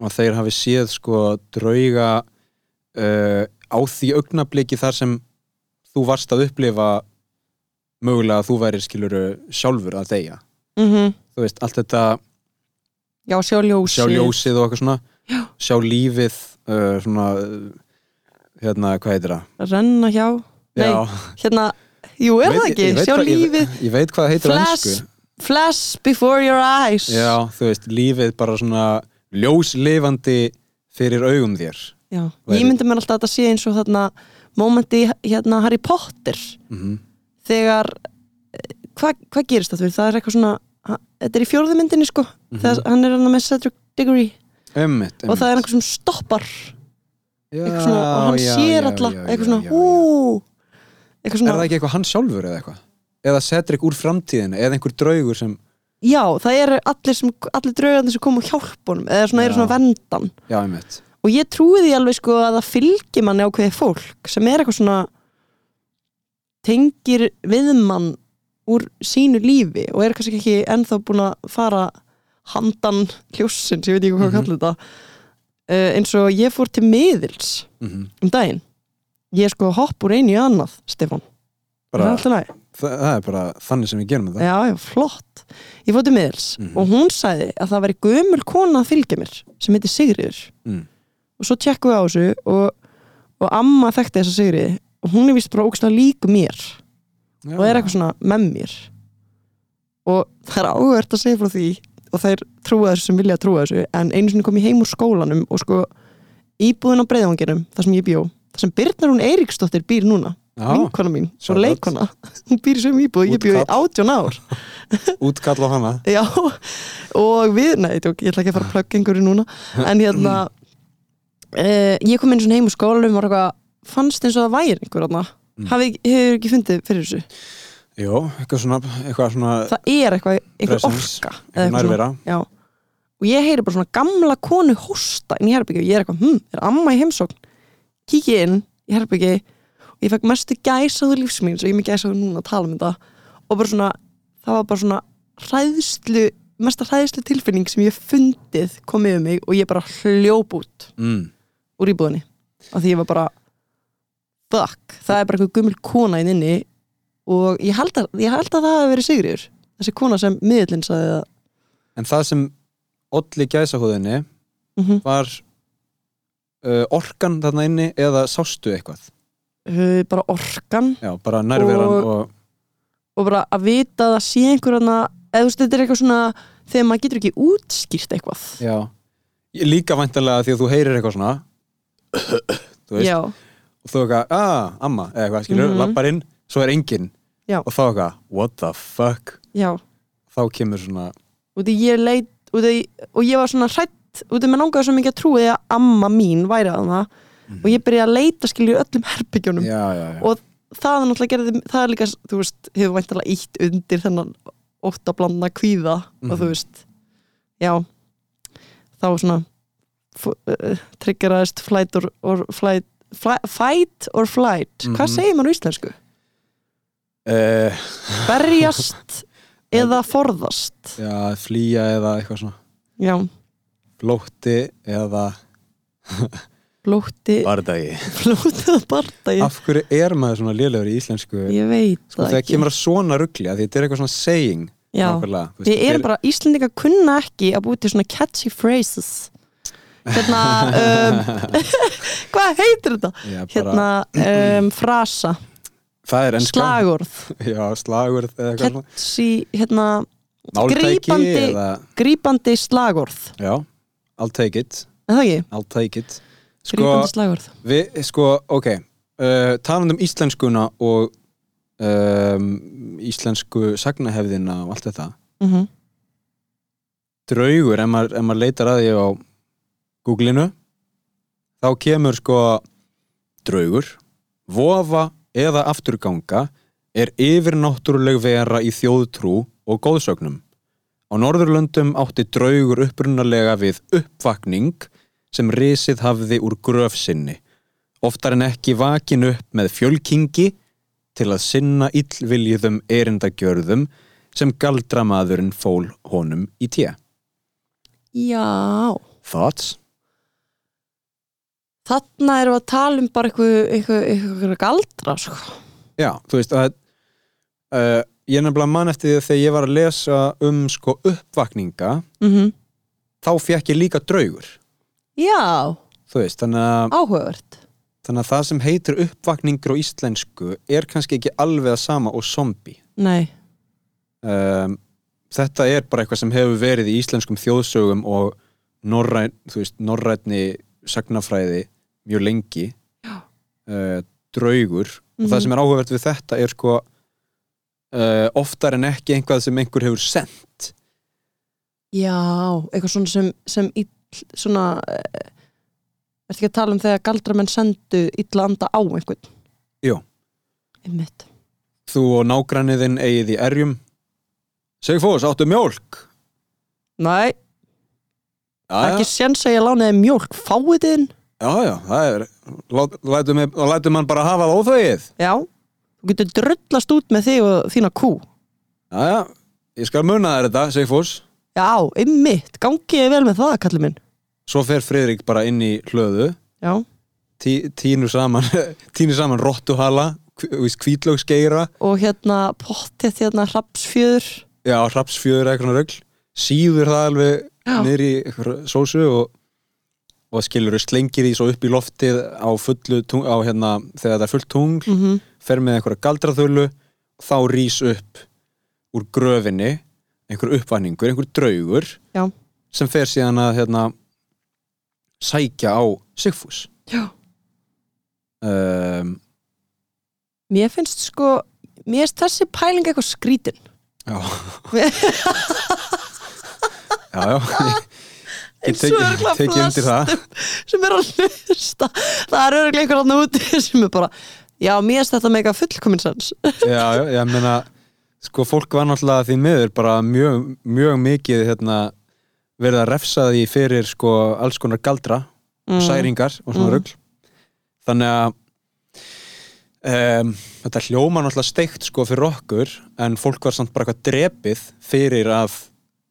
S4: að þeir hafi séð sko drauga uh, á því augnabliki þar sem þú varst að upplifa mögulega að þú væri skiluru sjálfur að deyja
S5: mm -hmm.
S4: þú veist, allt þetta
S5: já, sjá ljósið
S4: sjá ljósið og eitthvað svona Já. sjá lífið uh, svona uh, hérna, hvað heitir það?
S5: renna hjá, nei,
S4: Já.
S5: hérna jú, er
S4: Ég
S5: það
S4: veit-
S5: ekki,
S4: ég veit
S5: sjá
S4: hvað-
S5: lífið
S4: ég, ég veit hvað það heitir á ensku
S5: flash, flash before your eyes
S4: Já, þú veist, lífið bara svona ljóslifandi fyrir augum þér
S5: Já.
S4: Væri-
S5: ég myndi mér alltaf að þetta sé eins og þarna momenti í, hérna Harry Potter
S4: Mhm.
S5: þegar eh, hvað hva gerist það fyrir, það er eitthvað svona ha- þetta er í fjórðu myndinni sko
S4: Mhm.
S5: þegar hann er hann með Cedric Diggory
S4: Ömmit,
S5: og það er einhver sem stoppar eitthvað svona, og hann sér alla eitthvað svona, hú
S4: Er
S5: eitthvað svona,
S4: það ekki eitthvað hann sjálfur eða eitthvað? Eða Cedric úr framtíðinu, eða einhver draugur sem
S5: já, það eru allir, sem, allir draugandi sem kom og hjálpa honum eða svona,
S4: Já.
S5: eru svona vendan
S4: Já, einmitt
S5: og ég trúi því alveg sko að það fylgir manni ákveði fólk sem er eitthvað svona tengir viðmann úr sínu lífi og er kannski ekki ennþá búin að fara handan hljóssins, ég veit ekki
S4: Mhm.
S5: hvað mm kalla þetta uh, eins og ég fór til miðils
S4: mm -hmm.
S5: um daginn ég er sko hopp úr einu í annað, Stefán Er
S4: bara,
S5: það alltaf næg?
S4: það, það er bara þannig sem við gerum þetta
S5: Já, já, flott Ég fótti miðils
S4: Mhm.
S5: og hún sagði að það væri gömul kona að fylgja mér sem heiti Sigriður
S4: Mm.
S5: og svo tjekkum við á þessu og, og amma þekkti þessa Sigriði og hún er vist bara ógstlega lík mér og er eitthvað svona með mér og það er áhvert að segja frá því og þær trúa þessu sem vilja að trúa þessu en einu sinni kom ég heim úr skólanum og sko íbúðin á breiðvanginum þar sem ég bjó, þar sem Birnar hún Eiríksdóttir býr núna
S4: Já,
S5: vinkona mín, svo
S4: Shout out.
S5: leikona hún býr sem íbúð, ég bjóði
S4: Útkall.
S5: átjón ár
S4: útkall á hana
S5: já, og við, nei, tjók, ég ætla ekki að fara að plugga einhverju núna, en hérna uh, ég kom einu svona heim úr skólanum og var eitthvað, fannst eins og það væri einhver þarna, hafið, hefur ekki fundið fyrir þessu,
S4: Jó, eitthvað svona, eitthvað svona
S5: það er eitthvað einhver
S4: Presence,
S5: orka,
S4: einhver
S5: eða eitthvað
S4: nærvera.
S5: svona. já, og ég heyri bara svona gamla konu hósta inn í herbyggju, ég er eitthvað, hm, er amma í heimsókn kíkja inn í herbyggju og ég fekk mestu gæsaðu lífsmín svo ég er með gæsaðu núna að tala um þetta og bara svona, það var bara svona hræðslu, mesta hræðslu tilfinning sem ég hef fundið kom yfir mig og ég bara hljóp út
S4: mm.
S5: úr íbúðinni af því ég var bara fuck, það er bara einhver gummul kona inn inni og ég held að, ég held að það hafi verið Sigriður þessi kona sem miðlinn sagði að
S4: En það sem olli gæsahúðinni
S5: Mhm.
S4: var uh, orkan þarna inni eða sástu eitthvað
S5: uh, bara orkan
S4: Já, bara nærveran og,
S5: Og- og bara að vita að það sé einhverjana eða þú veist þetta er eitthvað svona þegar maður getur ekki útskýrt eitthvað
S4: Já Ég- Líka væntanlega því að þú heyrir eitthvað svona Þú veist
S5: já,
S4: Og þú eitthvað, aaa, amma, eða eitthvað skilur, mm
S5: Mhm.
S4: lappar inn Svo er enginn
S5: Já.
S4: Og þá eitthvað, what the fuck
S5: já
S4: Þá kemur svona,
S5: og því ég leit og, því, og ég var svona hrætt og því mér langaði svo mikið að trúi að amma mín væri að hana
S4: Mhm.
S5: og ég byrjaði að leita skilju í öllum herbyggjunum
S4: já, já, já
S5: og það er náttúrulega gerði, það er líka þú veist, hefur væntalega ítt undir þennan óttablanda kvíða og
S4: Mhm.
S5: þú veist, já þá svona f- uh, triggeraðist flight or, or flight fly, fight or flight hvað
S4: Mhm.
S5: segir maður á íslensku?
S4: Eh, [laughs]
S5: berjast eða forðast
S4: Já, flýja eða eitthvað svona
S5: já,
S4: Flótti eða
S5: [laughs] blótti
S4: bardagi
S5: blóttið að barta ég,
S4: Af hverju er maður svona lélegur í íslensku
S5: ég veit
S4: Sko
S5: það
S4: þegar
S5: ekki
S4: kemur að svona rugli að Þetta er eitthvað svona saying
S5: já,
S4: nákvæmlega, þú veist,
S5: við
S4: þeir-
S5: erum bara Íslendinga kunna ekki að búið til svona catchy phrases hérna
S4: [laughs]
S5: um, [laughs] hvað heitir þetta?
S4: Já, bara-
S5: hérna um, frasa,
S4: Það er ennska
S5: slagorð
S4: [laughs] Já, slagurð eða eitthvað svona
S5: catchy, hérna
S4: Máltæki
S5: grípandi-
S4: eða
S5: grípandi slagorð
S4: Já, I'll take it
S5: er það ekki?
S4: I'll take it Sko,
S5: grípandi slagorð
S4: við, sko ok uh, Talandi um íslenskuna og um, íslensku sagnahefðina og allt þetta
S5: mm
S4: Draugur, ef maður, ef maður leitar að því á Google-inu þá kemur sko draugur, vofa eða afturganga er yfirnáttúruleg vera í þjóðtrú og góðsögnum. Á Norðurlöndum átti draugur upprunalega við uppvakning sem risið hafði úr gröf sinni. Oftar en ekki vakin upp með fjölkingi til að sinna illviljuðum erindagjörðum sem galdramaðurinn fól honum í tía.
S5: já
S4: Thoughts?
S5: þarna erum við að tala um bara eitthvað, eitthvað, eitthvað galdra sko.
S4: Já, þú veist að uh, ég nefnilega mann eftir því að þegar ég var að lesa um sko uppvakninga
S5: mm
S4: þá fekk ég líka draugur
S5: Já,
S4: þú veist, þannig að,
S5: áhugavert
S4: þannig að það sem heitir uppvakningur á íslensku er kannski ekki alveg að sama og zombi
S5: Nei,
S4: um, þetta er bara eitthvað sem hefur verið í íslenskum þjóðsögum og norræn, þú veist, norrænni sagnafræði mjög lengi uh, draugur og það sem er áhugavert við þetta er sko uh, oftar en ekki einhvað sem einhver hefur sendt
S5: já, eitthvað svona sem, sem ill, svona eh, Ertu ekki að tala um þegar galdramenn sendu illa anda á einhvern?
S4: Jú.
S5: Einmitt
S4: þú og nágranniðin eigið í erjum Sigfús, áttu mjólk?
S5: Nei,
S4: Já,
S5: ekki séns að ég lánaði mjólk fáiðin
S4: já, já, það er lát- lætum, við- þá lætum hann bara hafa það óþvegið
S5: Já, þú getur drullast út með þig og þína kú
S4: Já, já, ég skal muna þær þetta, Sigfús
S5: Já, einmitt, gangi ég vel með það, kallið minn
S4: Svo fer Friðrik bara inn í hlöðu
S5: Já,
S4: tí, tínu saman [laughs] tínu saman rottuhala kvítlögsgeira,
S5: og hérna pottið hérna hrapsfjöður
S4: já, hrapsfjöður eitthvað svona rögl, síður það alveg
S5: Já.
S4: niður í einhverja sósu og, og skilur slengir því svo upp í loftið á fullu tung, á hérna, þegar það er fullt tungl
S5: mm
S4: fer með einhverja galdraþölu þá rís upp úr gröfinni einhver uppvæningur, einhver draugur
S5: Já.
S4: sem fer síðan að hérna, sækja á Sigfús
S5: Já
S4: um,
S5: Mér finnst sko, mér finnst þessi pæling eitthvað skrítin
S4: Já
S5: Mér-
S4: Já, já Ég
S5: Eins og
S4: teki,
S5: örugglega
S4: teki undir það
S5: flestum sem er að hlusta það er örgulega einhver annar úti sem er bara já, mér finnst þetta mega fullkominsans
S4: Já, já, ég meina Sko, fólk var náttúrulega því miður bara mjög, mjög mikið hérna, verið að refsa því fyrir sko, alls konar galdra og særingar og svona
S5: Mm.
S4: rugl Þannig að um, þetta hljóma náttúrulega steikt sko, fyrir okkur en fólk var samt bara eitthvað drepið fyrir að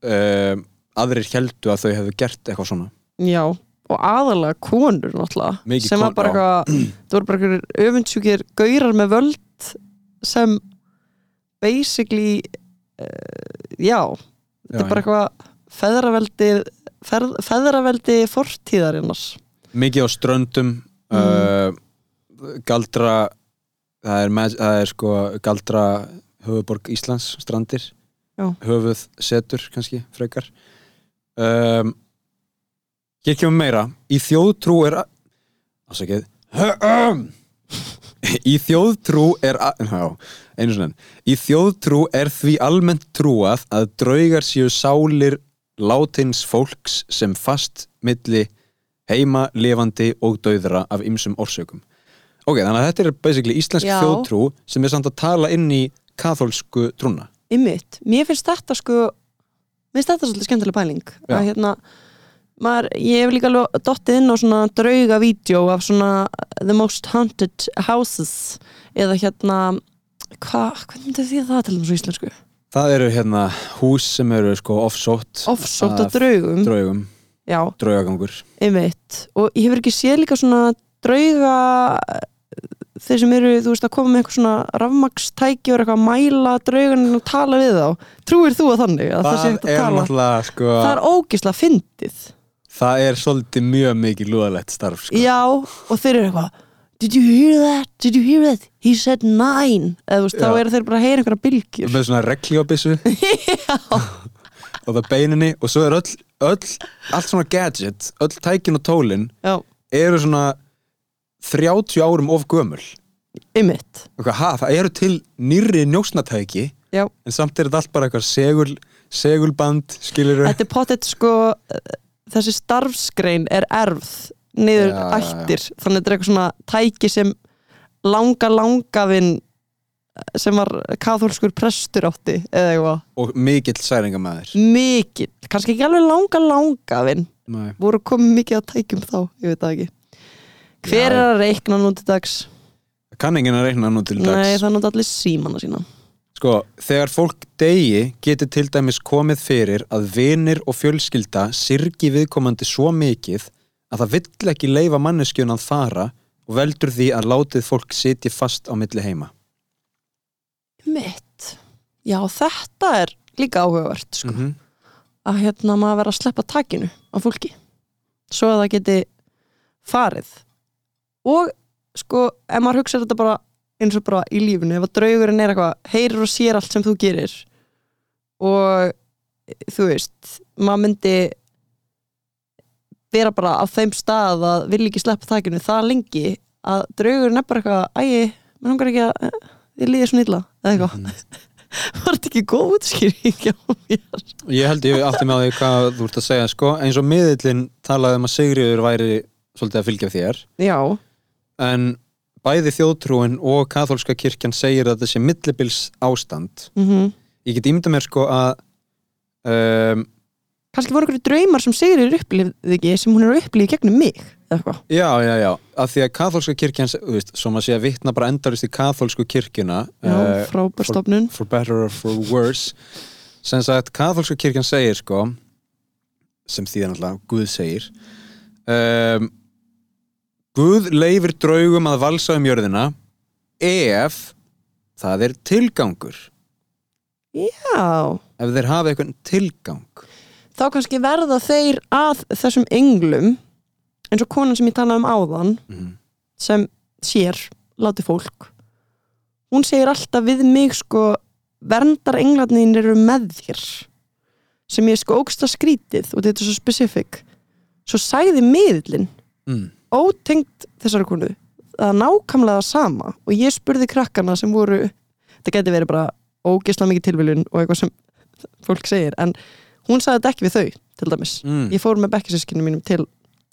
S4: um, aðrir heldu að þau hefðu gert eitthvað svona
S5: já, og aðalega konur náttúrulega,
S4: Mikið
S5: sem var
S4: kon-
S5: bara eitthvað það voru bara eitthvað öfundsjúkir gaurar með völd sem basically uh, já,
S4: Já,
S5: þetta er bara eitthvað feðraveldi ferð, feðraveldi fortíðarinnars
S4: mikið á ströndum uh, galdra það er, mag- það er sko galdra höfuborg Íslands strandir
S5: Já.
S4: höfuð setur kannski frekar um, hér kemur meira í þjóðtrú er a- ásakið í þjóðtrú er a- já, einu sinni enn. í þjóðtrú er því almennt trúað að draugar séu sálir látins fólks sem fast milli heima, lifandi og dauðra af ymsum orsökum ok, þannig að þetta er basically íslensk
S5: Já.
S4: þjóðtrú sem er samt að tala inn í katholsku trúna
S5: Ymmit, mér finnst þetta sko mér finnst þetta svolítið skemmtileg pæling
S4: Já.
S5: að hérna maður, ég hef líka lo- dottið inn á svona drauga vídeo af svona the most haunted houses eða hérna hva, hvernig myndi því það til þessu íslensku
S4: það eru hérna hús sem eru sko offsótt
S5: offsótt
S4: Af
S5: af draugum
S4: draugum,
S5: já,
S4: draugagangur
S5: ymmit og ég hefur ekki séð líka svona drauga þeir sem eru, þú veist, að koma með eitthvað svona rafmakstæki og eitthvað að mæla draugan og tala við þá trúir þú að þannig að það sé
S4: það
S5: eitthvað að
S4: er
S5: tala
S4: náttúrulega sko
S5: það er ógislega fyndið
S4: það er svolítið mjög mikið lúðalegt starf sko.
S5: já, og þeir eru eitthvað did you hear that, did you hear that he said nine, eða þú veist, þá
S4: Já.
S5: eru þeir bara að heyra einhverja bylgjur
S4: með svona regljóbissu og það beininni og svo er öll, öll allt svona gadget, öll tækin og tólin
S5: já,
S4: eru svona 30 árum of gömul
S5: ymmit,
S4: eitthvað, ha, það eru til nýrri njósnatæki
S5: já
S4: en samt er þetta allt bara eitthvað segul, segulband skilur
S5: þetta er pottet sko eh, þessi starfsgrein er erfð niður
S4: Já, já, já.
S5: ættir þannig að þetta er eitthvað svona tæki sem langa langafinn sem var kathólskur prestur átti eða eitthvað,
S4: og mikill særingamæður
S5: mikill kannski ekki alveg langa langafinn
S4: Nei.
S5: voru komið mikið að tækjum þá ég veit það ekki
S4: Já.
S5: hver er að reikna nú til dags?
S4: kann enginn að reikna nú til
S5: nei
S4: dags
S5: það er náttúrulega allir símana sína
S4: sko, þegar fólk degi getur til dæmis komið fyrir að vinir og fjölskylda sirgi viðkomandi svo mikið að það vill ekki leifa manneskjun að fara og veldur því að látið fólk sitji fast á milli heima
S5: mitt já þetta er líka áhugavert sko.
S4: Mhm.
S5: að hérna maður verður að sleppa takinu á fólki svo að það geti farið og sko ef maður hugsa þetta bara eins og bara í lífinu ef að draugurinn er eitthvað heyrir og sér allt sem þú gerir og þú veist maður myndi vera bara á þeim stað að vilja ekki sleppa takinu það lengi að draugurinn er bara eitthvað ægi, mér langar ekki að ég líði svona illa eða eitthvað [laughs] var þetta ekki góð útskýring á mér
S4: Ég held ég átti með á því hvað þú ert að segja sko, eins og miðillinn talaði um að Sigriður væri svolítið að fylgja þér
S5: já,
S4: en bæði þjóðtrúin og katholska kirkjan segir að þessi millibils ástand
S5: mm
S4: ég get ímynda mér sko að um,
S5: kannski voru einhverju draumar sem Sigriður upplifði ekki sem hún er að upplifði gegnum mig eða eitthvað
S4: já, já, já, að því að katholska kirkjan þú veist, svo maður sé að vitna bara endarist í katholsku kirkjuna
S5: já,
S4: eh,
S5: frábær
S4: for-
S5: stofnun
S4: for better or for worse sem sagt, katholsku kirkjan segir sko sem þýðan alltaf, Guð segir um, Guð leifir draugum að valsa um jörðina ef það er tilgangur
S5: já,
S4: ef þeir hafa eitthvað tilgang
S5: þá kannski verða þeir að þessum englum eins og konan sem ég talaði um áðan
S4: Mhm.
S5: sem sér, láti fólk hún segir alltaf við mig sko, verndar englarnin eru með þér sem ég er sko ógsta skrítið og þetta er svo specific svo sagði miðlinn
S4: mm.
S5: ótengt þessari konu það er nákvæmlega sama og ég spurði krakkana sem voru þetta geti verið bara ógisla mikið tilviljun og eitthvað sem fólk segir en hún sagði þetta ekki við þau til dæmis
S4: Mm.
S5: ég fór með bekkisískinu mínum til,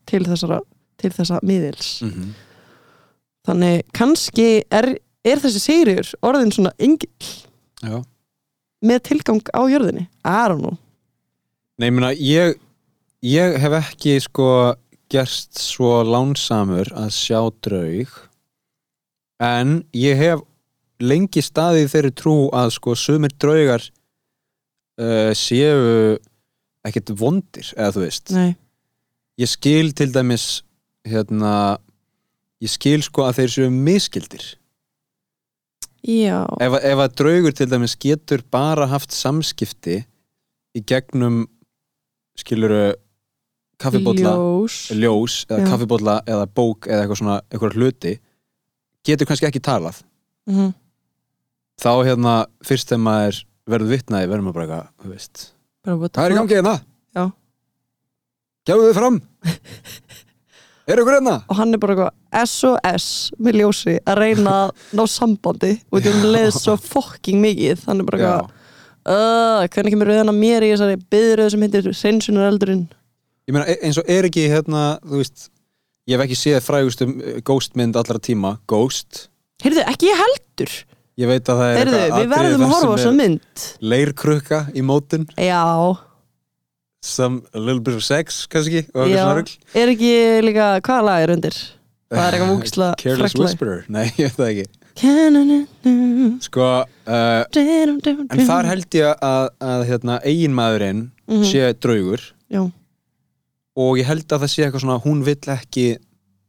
S5: til þessara til þessa miðils
S4: Mhm.
S5: þannig kannski er, er þessi sigriður orðin svona engill
S4: Já.
S5: með tilgang á jörðinni I don't know
S4: Nei, ég meina, ég, ég hef ekki sko gerst svo lánsamur að sjá draug en ég hef lengi staðið í þeirri trú að sko sumir draugar uh, séu ekkert vondir, eða þú veist
S5: Nei.
S4: ég skil til dæmis hérna ég skil sko að þeir séu miskildir
S5: já,
S4: ef, ef að draugur til dæmis getur bara haft samskipti í gegnum skiluru kaffibólla,
S5: ljós
S4: ljós eða
S5: Já.
S4: kaffibólla eða bók eða eitthvað svona eitthvað hluti, getur kannski ekki talað
S5: mm
S4: þá hérna fyrst þegar maður verður vitnaði verður maður bara eitthvað, þú veist Það er í gangi hérna
S5: Já.
S4: Gjáðu þið fram Er ykkur hérna?
S5: og hann er bara eitthvað SOS með ljósi að reyna að
S4: [laughs]
S5: ná sambandi og því hún leið svo fokking mikið hann er bara
S4: Já.
S5: eitthvað "Ugh, hvernig kemur rauðan að mér í þessari byðröð sem heitir Seinsunar eldurinn
S4: Ég meina e- eins og er ekki hérna, þú veist ég hef ekki séð frægustu eh, ghostmynd allra tíma, Ghost
S5: heyrðu ekki ég heldur
S4: Ég veit að það er
S5: heyrðu,
S4: eitthvað
S5: við
S4: atriði
S5: verðum að
S4: þar
S5: horfa á
S4: sem
S5: þessa
S4: er
S5: mynd
S4: Leirkrukka í mótin
S5: já,
S4: Some a little bit of sex, kannski og eitthvað
S5: já
S4: svona rugl.
S5: er ekki líka, hvaða lag er undir? það er eitthvað vúksla
S4: [laughs] Careless Whisperer, nei, ég veit það ekki
S5: en
S4: Sko, uh, en þar held ég að, að hérna, eiginmaðurinn
S5: Mhm.
S4: sé draugur
S5: já,
S4: og ég held að það sé eitthvað svona hún vill ekki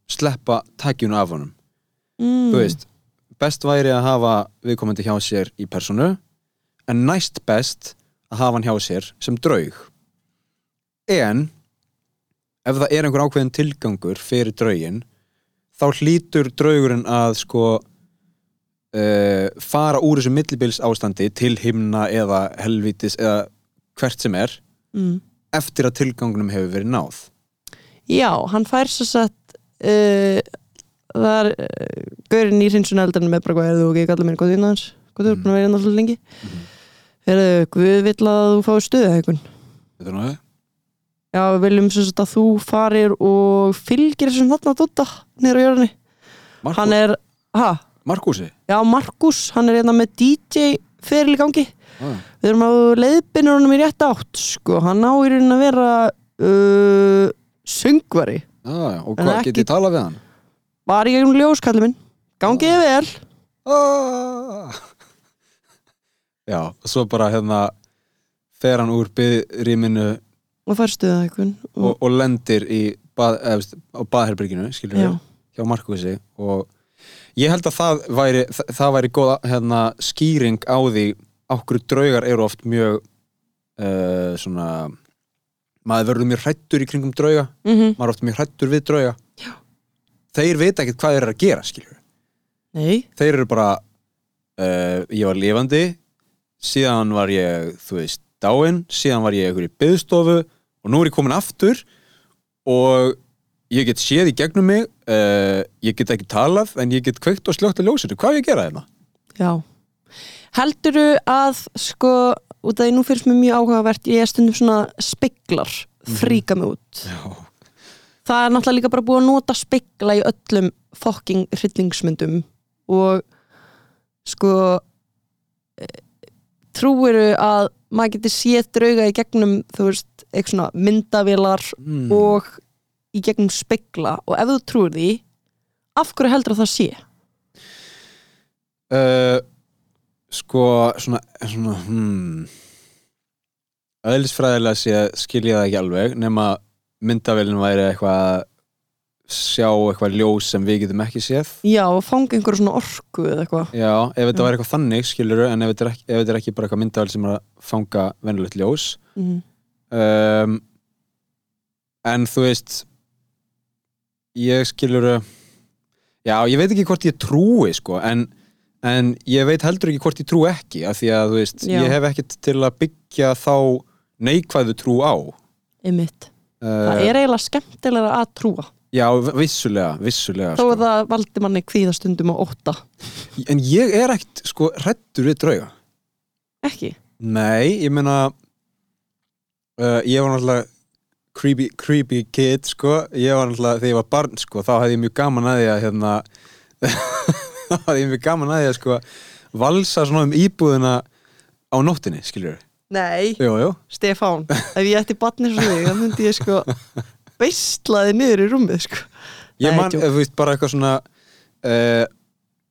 S4: sleppa takjunu af honum
S5: mm.
S4: þú veist, best væri að hafa viðkomandi hjá sér í personu en næst best að hafa hann hjá sér sem draug en ef það er einhver ákveðin tilgangur fyrir draugin þá hlýtur draugurinn að sko uh, fara úr þessu millibils ástandi til himna eða helvítis eða hvert sem er
S5: mm.
S4: eftir að tilgangunum hefur verið náð
S5: Já, hann fær svo sett uh, það er uh, gaurinn í hrinsun eldarinn með bara hvað er þú ekki kallar mér góðin hans hvað þú er búin að vera hérna alltaf lengi mm.
S4: Mhm.
S5: er þau, við vill að þú fáið stuðu hækun
S4: Þetta er nú það?
S5: Já, við viljum svo sett að þú farir og fylgir þessum þarna dóta niður á jörðinni
S4: Markú,
S5: hann er, ha,
S4: Markúsi?
S5: já Markus hann er hérna með DJ feril í gangi
S4: Ah.
S5: við erum að leiðbinna honum í rétt átt sko, hann á í raunin að vera uh, söngvari
S4: Já, já, Ah, og
S5: En
S4: hvað,
S5: ekki-
S4: get ég talað við hann?
S5: var í gegnum ljóskallið minn gangið þið vel
S4: Ah. Já, og svo bara hérna fer hann úr byðrýminu
S5: og fær stuðaðækun
S4: og, og lendir í bað, efst, á baðherberginu, skilur
S5: Já.
S4: við hjá Markúsi og Ég held að það væri, það, það væri góða hérna, skýring á því okkur draugar eru oft mjög uh, svona maður verður mjög hrættur í kringum drauga
S5: Mhm.
S4: maður er oft mjög hrættur við drauga Já. þeir vita ekkert hvað þeir eru að gera skilur.
S5: Nei,
S4: þeir eru bara uh, ég var lifandi síðan var ég, þú veist, dáin síðan var ég einhver í byðstofu og nú er ég komin aftur og ég get séð í gegnum mig uh, ég get ekki talað en ég get kveikt og slögt að ljósinu, hvað á ég að gera hérna? þeirna?
S5: já Heldurðu að sko út af því nú finnst mér mjög áhugavert ég er stundum svona speglar fríka mig út
S4: Mhm. Já.
S5: það er náttúrulega líka bara búið að nota spegla í öllum fokking hryllingsmyndum og sko eh, trúiru að maður getur séð drauga í gegnum þú veist, eitthvað svona myndavilar
S4: Mm.
S5: og í gegnum spegla og ef þú trúir því af hverju heldur að það sé?
S4: uh, sko svona, svona hmm öðlisfræðilega sé skil ég það ekki alveg nema myndavélin væri eitthvað að sjá eitthvað ljós sem við getum ekki séð
S5: Já, að fanga einhverju svona orku eða eitthvað
S4: já, ef þetta væri eitthvað þannig skilur en ef þetta er ekki, ef þetta er ekki bara eitthvað myndavél sem er að fanga venulegt ljós
S5: mm.
S4: um, en þú veist ég skilur já, ég veit ekki hvort ég trúi sko, en, en ég veit heldur ekki hvort ég trú ekki, af því að þú veist
S5: Já.
S4: ég hef ekkert til að byggja þá neikvæðu trú á
S5: einmitt.
S4: uh,
S5: Það er eiginlega skemmtilega að trúa
S4: já, vissulega, vissulega
S5: þó
S4: sko.
S5: að það valdi manni kvíðastundum og óta
S4: en ég er ekkert sko hrættur við drauga
S5: ekki?
S4: Nei, ég meina uh, ég var náttúrulega creepy, creepy kid sko, ég var náttúrulega þegar ég var barn sko, þá hefði ég mjög gaman að því að hérna [laughs] þá hefði ég mjög gaman að því að sko valsa svona um íbúðina á nóttinni, skiljur
S5: Nei
S4: Jú, jú, [laughs]
S5: Stefán, ef ég ætti batni svo þig, þannig myndi ég sko beislaði niður í rúmið sko.
S4: ég
S5: Nei,
S4: man,
S5: djók.
S4: ef þú veist, bara eitthvað svona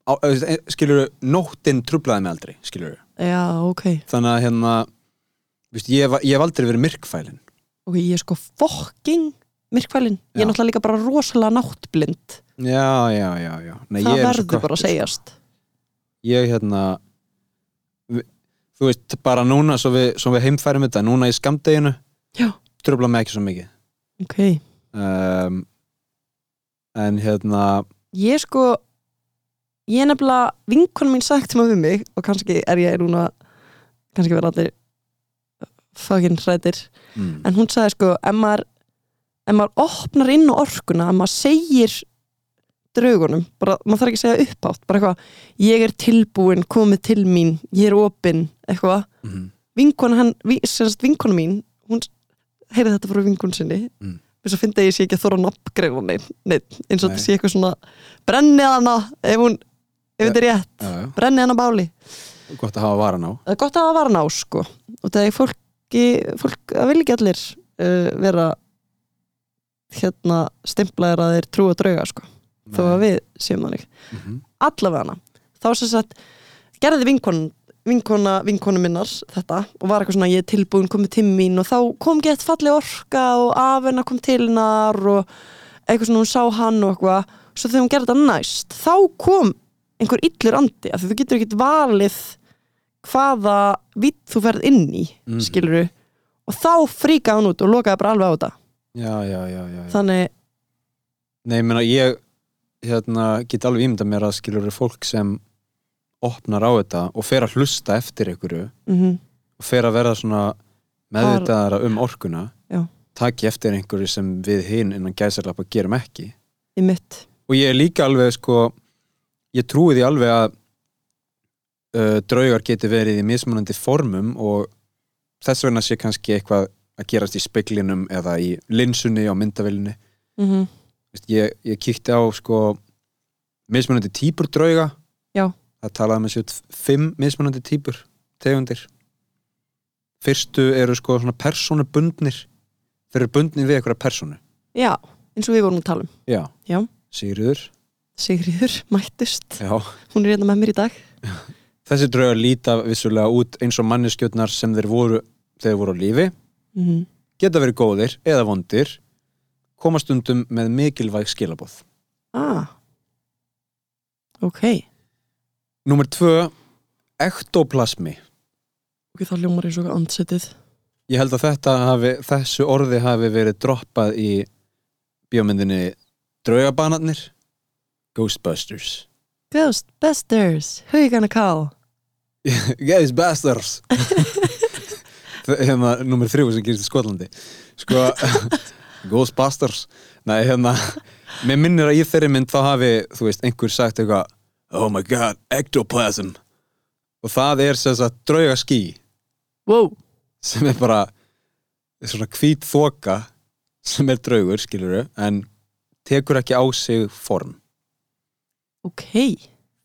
S4: uh, skiljur nóttin trublaði mig aldrei, skiljur
S5: Já, ok.
S4: þannig að hérna þú veist, ég, hef- ég hef aldrei verið myrkfælin
S5: Ok, ég er sko fokking myrkvælin. Ég
S4: Já.
S5: er náttúrulega líka bara rosalega náttblind.
S4: Já, já, já, já Nei,
S5: það
S4: ég er eins og
S5: verður bara
S4: köttur,
S5: að
S4: sko.
S5: segjast.
S4: ég hérna vi- þú veist bara núna svo við, svo við heimfærum þetta núna í skamdeginu
S5: Já.
S4: tröfla mig ekki svo mikið
S5: Ok.
S4: um, en hérna
S5: Ég er sko, ég er nefnilega, vinkonum mín sagt um að við mig og kannski er ég núna, kannski verða allir fucking hrættir.
S4: mm,
S5: en hún sagði sko ef maður, ef maður opnar inn á orkuna ef maður segir draugunum, bara, maður þarf ekki að segja uppátt bara eitthvað, ég er tilbúin komið til mín, ég er opinn eitthvað,
S4: mm,
S5: vinkona hann vi- sem sagt vinkona mín, hún heyrði þetta frá vinkonu sinni
S4: Mm.
S5: þess að finna ég sé ekki að þóra nafngreina neitt, neitt eins og
S4: Nei.
S5: þetta sé eitthvað svona brennið hana ef hún, ef þetta er rétt
S4: já, já,
S5: brennið hana á báli
S4: gott að hafa varan á
S5: það er gott að það var ná sko og það er fólki, fólk að vilja ekki allir uh, vera hérna stimplaðir að þeir trúa drauga sko, þó að við séum þannig
S4: mm
S5: allavega hana, þá sem sagt gerði vinkon, vinkona vinkonu minnar þetta og var eitthvað svona ég er tilbúin komið til mín og þá kom gett falleg orka og af hennar kom til hennar og eitthvað svona hún sá hann og eitthvað svo þegar hún gerði þetta næst þá kom einhver illur andi af því þú getur ekkert valið hvaða vitt þú ferð inn í
S4: Mhm.
S5: mm. skiluru og þá fríkaði hann út og lokaði bara alveg á þetta
S4: já, já, já, já, já.
S5: þannig,
S4: nei, ég meina ég hérna, get alveg ímynda mér að skilur fólk sem opnar á þetta og fer að hlusta eftir einhverju
S5: mm
S4: og fer að verða svona meðvitaðara um orkuna
S5: Já.
S4: taki eftir einhverju sem við hinn innan gæsarlappa gerum ekki
S5: í mitt
S4: og ég er líka alveg sko ég trúi því alveg að uh, draugar geti verið í mismunandi formum og þess vegna sé kannski eitthvað að gerast í speklinum eða í linsunni á myndavillinni
S5: mm
S4: Vist, ég, ég kíkti á sko mismunandi típur drauga
S5: Já.
S4: það talaði um með sér fimm mismunandi típur, tegundir fyrstu eru sko svona persónubundnir þeir eru bundnir við eitthvað persónu
S5: já, eins og við vorum að tala um
S4: já,
S5: Já.
S4: Sigríður
S5: Sigriður mættust
S4: já.
S5: hún er hérna með mér í dag
S4: þessi draugar líta vissulega út eins og manneskjötnar sem þeir voru þegar þeir voru á lífi
S5: mm
S4: geta verið góðir eða vondir koma stundum með mikilvæg skilabóð
S5: ah, Ok, ok,
S4: Númer tvö, ektoplasmi
S5: þá ljómar eins og andsetið
S4: Ég held að þetta hafi, þessu orði hafi verið droppað í bíómyndinni Draugabanarnir Ghostbusters
S5: Ghostbusters, who you gonna call?
S4: Yes, bastards Það- hérna, nummer þrjú sem gerist í Skotlandi sko, [laughs] Ghostbusters nei, hérna, mér minnir að í þeirri mynd þá hafi, þú veist, einhver sagt eitthvað, oh my god, ectoplasm og það er sem sagt drauga ský
S5: Wow,
S4: sem er bara svona hvít þoka sem er draugur, skilurðu en tekur ekki á sig form
S5: ok,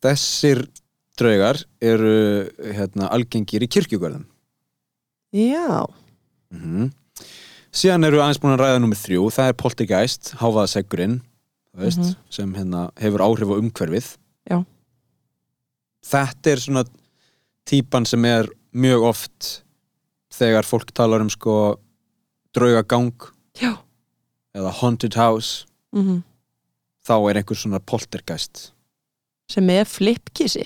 S4: þessir draugar eru hérna, algengir í kirkjugörðum
S5: já
S4: síðan eru við aðeins búin að ræða nummið þrjú, það er poltergeist, háfaðaseggurinn þú veist,
S5: Mhm.
S4: sem hérna hefur áhrif á umhverfið
S5: Já.
S4: þetta er svona típan sem er mjög oft þegar fólk talar um sko draugagang
S5: Já,
S4: eða haunted house
S5: mm
S4: þá er einhver svona poltergeist
S5: sem er flipkissi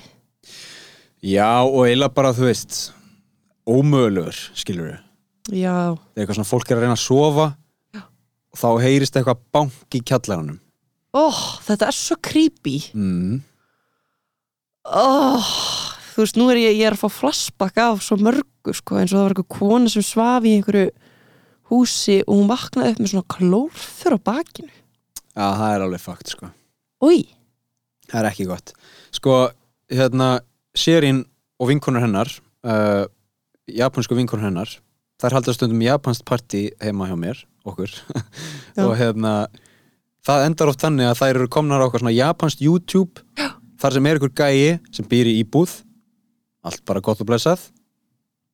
S4: já og eiginlega bara þú veist ómögulegur skilur við
S5: Já,
S4: eitthvað svona fólk er að reyna að sofa og þá heyrist eitthvað bank í kjallaranum
S5: óh, Oh, þetta er svo creepy
S4: mm.
S5: Mhm. oh, þú veist, nú er ég, ég er að fá flashback af svo mörgu sko, eins og það var eitthvað kona sem svaf í einhverju húsi og hún vaknaði upp með svona klórþur á bakinu
S4: Já, það er alveg fakt, sko.
S5: Új,
S4: Það er ekki gott. Sko, hérna, Sherin og vinkonur hennar, uh, japansku vinkonur hennar, þær halda stundum japanskt partí heima hjá mér, okkur.
S5: Já.
S4: [laughs] og hérna, það endar oft þannig að þær eru komnar á okkar svona japanskt YouTube, Já. þar sem er ykkur gæi sem býr í íbúð, allt bara gott og blessað,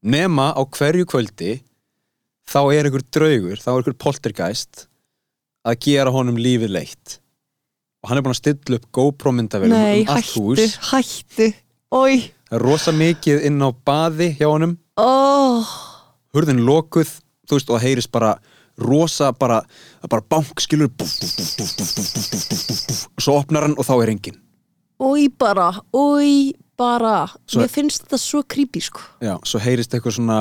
S4: nema á hverju kvöldi, þá er ykkur draugur, þá er ykkur poltergeist að gera honum lífið leitt. Og hann er búin að stilla upp GoPro myndavélum
S5: nei,
S4: um allt
S5: hættu,
S4: hús.
S5: hættu Új,
S4: Það er rosa mikið inn á baði hjá honum
S5: óh
S4: hurðin lokuð þú veist, og það heyrist bara rosa bara, það er bara bank skilur búf, búf, búf, búf, búf, búf, búf, búf, búf, búf, búf, og svo opnar hann og þá er engin
S5: Új bara, új bara
S4: Svo-
S5: Mér finnst þetta svo creepy sko
S4: Já, svo heyrist eitthvað svona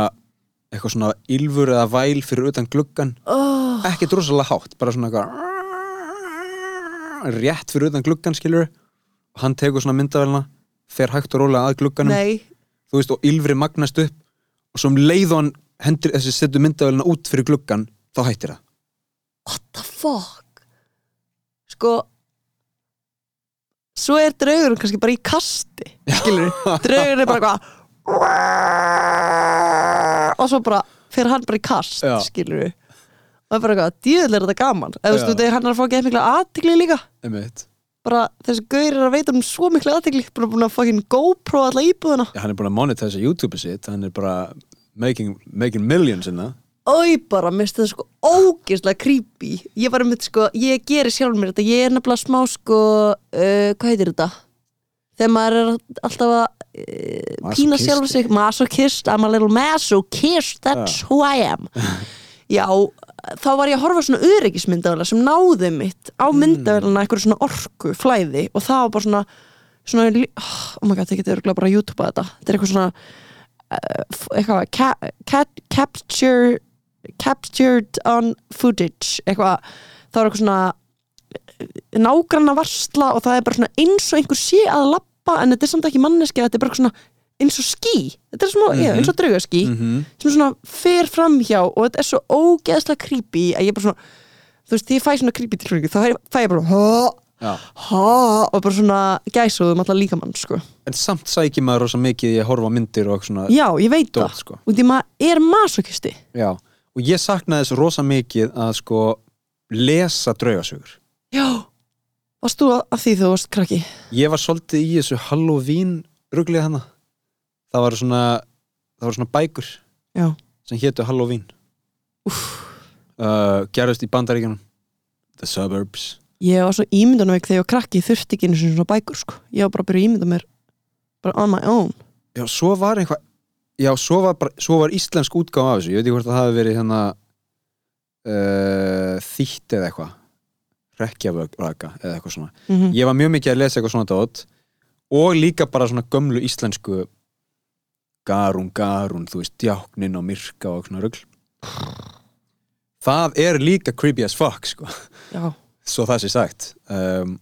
S4: eitthvað svona ylfur eða væl fyrir utan gluggan
S5: oh,
S4: ekkert rosalega hátt, bara svona eitthvað rétt fyrir utan gluggan skilur og hann tekur svona myndavelna fer hægt og rólega að glugganum
S5: Nei,
S4: þú veist, og ylfri magnast upp og svo um leið og hann hendur þessi setur myndavelna út fyrir gluggan þá hættir það
S5: what the fuck Sko Svo er draugurinn kannski bara í kasti Skilur Draugurinn er bara eitthvað Og svo bara Fyrir hann bara í kast
S4: Já.
S5: Skilur Og er bara eitthvað Djöðlega er þetta gaman Eða þú veist,
S4: Já.
S5: þú veist, hann er að fá ekki mikla aðtigli líka
S4: Einmitt.
S5: Bara þessi gaur er að veita um svo mikla aðtigli Bara búin að fucking GoPro alla íbúðuna
S4: Já, hann er búin að monetisa YouTube-ið sitt hann er bara making, making millions hérna. inna.
S5: Ói bara, mér finnst þetta sko ógeðslega creepy Ég var um þetta sko, ég gerir sjálf mér þetta Ég er nefnilega smá sko, uh, hvað heitir þetta? Þegar maður er alltaf að uh, pína
S4: Masochisti.
S5: sjálf sig Masochist, I'm a little masochist, that's who I am Já, þá var ég að horfa á svona öryggismyndavæla sem náði mitt á myndavælana eitthvað svona orku, flæði og það var bara svona, svona lí- oh my god, það getur örugglega bara að youtubea þetta þetta er eitthvað svona uh, eitthvað, ca ca capture captured on footage eitthvað, það var eitthvað svona eh, nágranna varsla og það er bara svona eins og einhver sé að lappa en þetta er samt ekki manneski, þetta er bara svona eins og ský, þetta er svona, já,
S4: Mhm.
S5: eins og draugaský sem svona fer fram hjá og þetta er svo ógeðslega creepy að ég bara svona, þú veist, þegar ég fæ svona creepy tilfengu, þá fæ- fæ ég bara hó,
S4: Já.
S5: hó, og bara svona gæsuðum allar líkamann, sko
S4: en samt sækir maður rosa mikið í að horfa á myndir og eitthvað svona
S5: Já, ég veit
S4: Dót,
S5: það,
S4: sko.
S5: og því maður er masokisti
S4: Já. og ég saknaði þessu rosa mikið að sko lesa draugasögur
S5: Já, varst þú að- að því þú varst krakki?
S4: ég var svolítið í þessu Halloween ruglið hana það var svona, það var svona bækur
S5: Já,
S4: sem hétu Halloween uh, gerðust í bandaríkjunum The Suburbs
S5: ég var svo ímyndunveik þegar ég var krakki, ég þurfti ekki einu sinni svona bækur, sko Ég var bara að byrja að ímynda mér, bara on my own
S4: Já, svo var eitthvað Já, svo var, bara, svo var íslensk útgáfa af þessu Ég veit ekki hvort það hafi verið hérna uh, Þýtt eða eitthvað Rekkjavöka eða eitthvað svona
S5: mm
S4: Ég var mjög mikið að lesa eitthvað svona dót og líka bara svona gömlu íslensku garun, garun, þú veist, djáknin og myrka og svona rugl það er líka creepy as fuck sko, [laughs]
S5: já,
S4: svo það sé sagt um,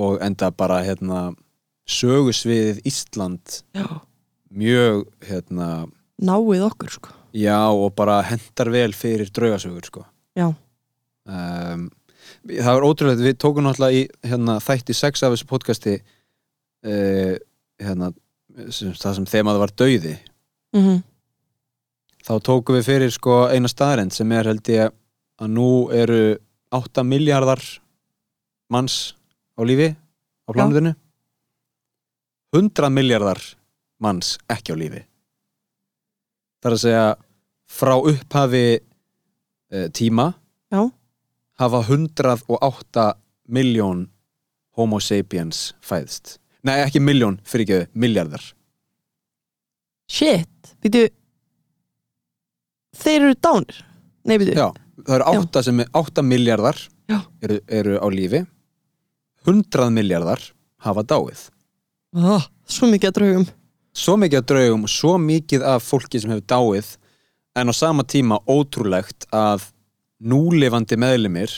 S4: og enda bara hérna sögusviðið Ísland
S5: já
S4: mjög hérna
S5: náið okkur sko
S4: já og bara hendar vel fyrir draugasögur sko
S5: já,
S4: um, það var ótrúlegt við tókum náttúrulega í hérna, þætti 6 af þessu podcasti uh, hérna, sem, það sem þemað var dauði
S5: mhm
S4: þá tókum við fyrir sko eina staðrend sem er held ég að nú eru 8 miljardar manns á lífi á planetinu 100 miljardar manns ekki á lífi það er að segja frá upphafi uh, tíma
S5: Já.
S4: hafa 108 miljón homo sapiens fæðst nei ekki miljón, fyrir ekki miljardar
S5: Shit, býtu Þeir eru dánir Nei, býtu,
S4: Já, það eru 8, sem er, 8 miljardar
S5: Já.
S4: eru, eru á lífi 100 miljardar hafa dáið
S5: ah, svo mikið að draugum
S4: svo mikið af draugum og svo mikið af fólki sem hefur dáið en á sama tíma ótrúlegt að núlifandi meðlumir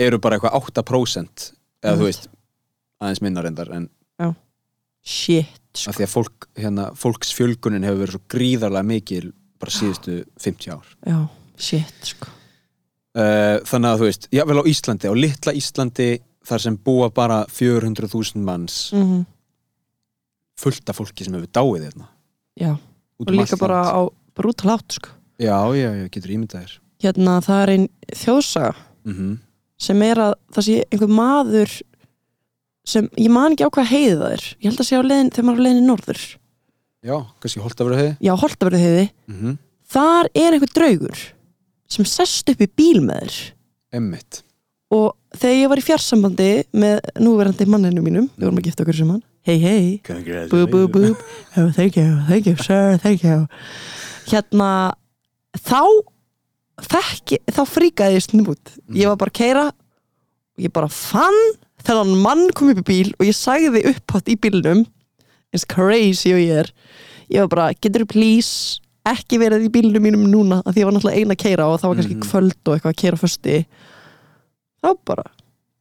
S4: eru bara eitthvað 8% eða þú
S5: Einmitt.
S4: veist aðeins minna reyndar en
S5: Shit, sko.
S4: að því að fólk, hérna, fólksfjölgunin hefur verið svo gríðarlega mikil bara síðustu 50 ár
S5: já, shit sko.
S4: Eh, þannig að þú veist, jável á Íslandi á litla Íslandi þar sem búa bara 400.000 manns
S5: mm
S4: fullt af fólki sem hefur dáið hérna. þérna
S5: Já, og líka bara á brútal átt sko.
S4: já, já, já, getur ímyndað þér
S5: Hérna, það er ein þjóðsaga
S4: mm
S5: sem er að það sé einhver maður sem, ég man ekki á hvað heiði það er ég held að sé á leiðin, þegar maður er á leiðin norður
S4: já, kannski holdt að vera þið
S5: Já, Holtaverði heiði Þar er einhver draugur sem sest upp í bíl með þér
S4: emmitt,
S5: og þegar ég var í fjarsambandi með núverandi manninu mínum við vorum að gifta okkur saman hei hei, bú bú bú [laughs] oh, thank you, thank you sir, thank you hérna þá þekki, þá fríkaði ég snum út ég var bara að keira og ég bara fann þennan mann kom upp í bíl og ég sagði upphátt í bílnum eins crazy og ég er ég var bara, getur þú please ekki verið í bílnum mínum núna af því ég var náttúrulega eina að keira og það var kannski
S4: Mhm.
S5: kvöld og eitthvað að keira fösti þá bara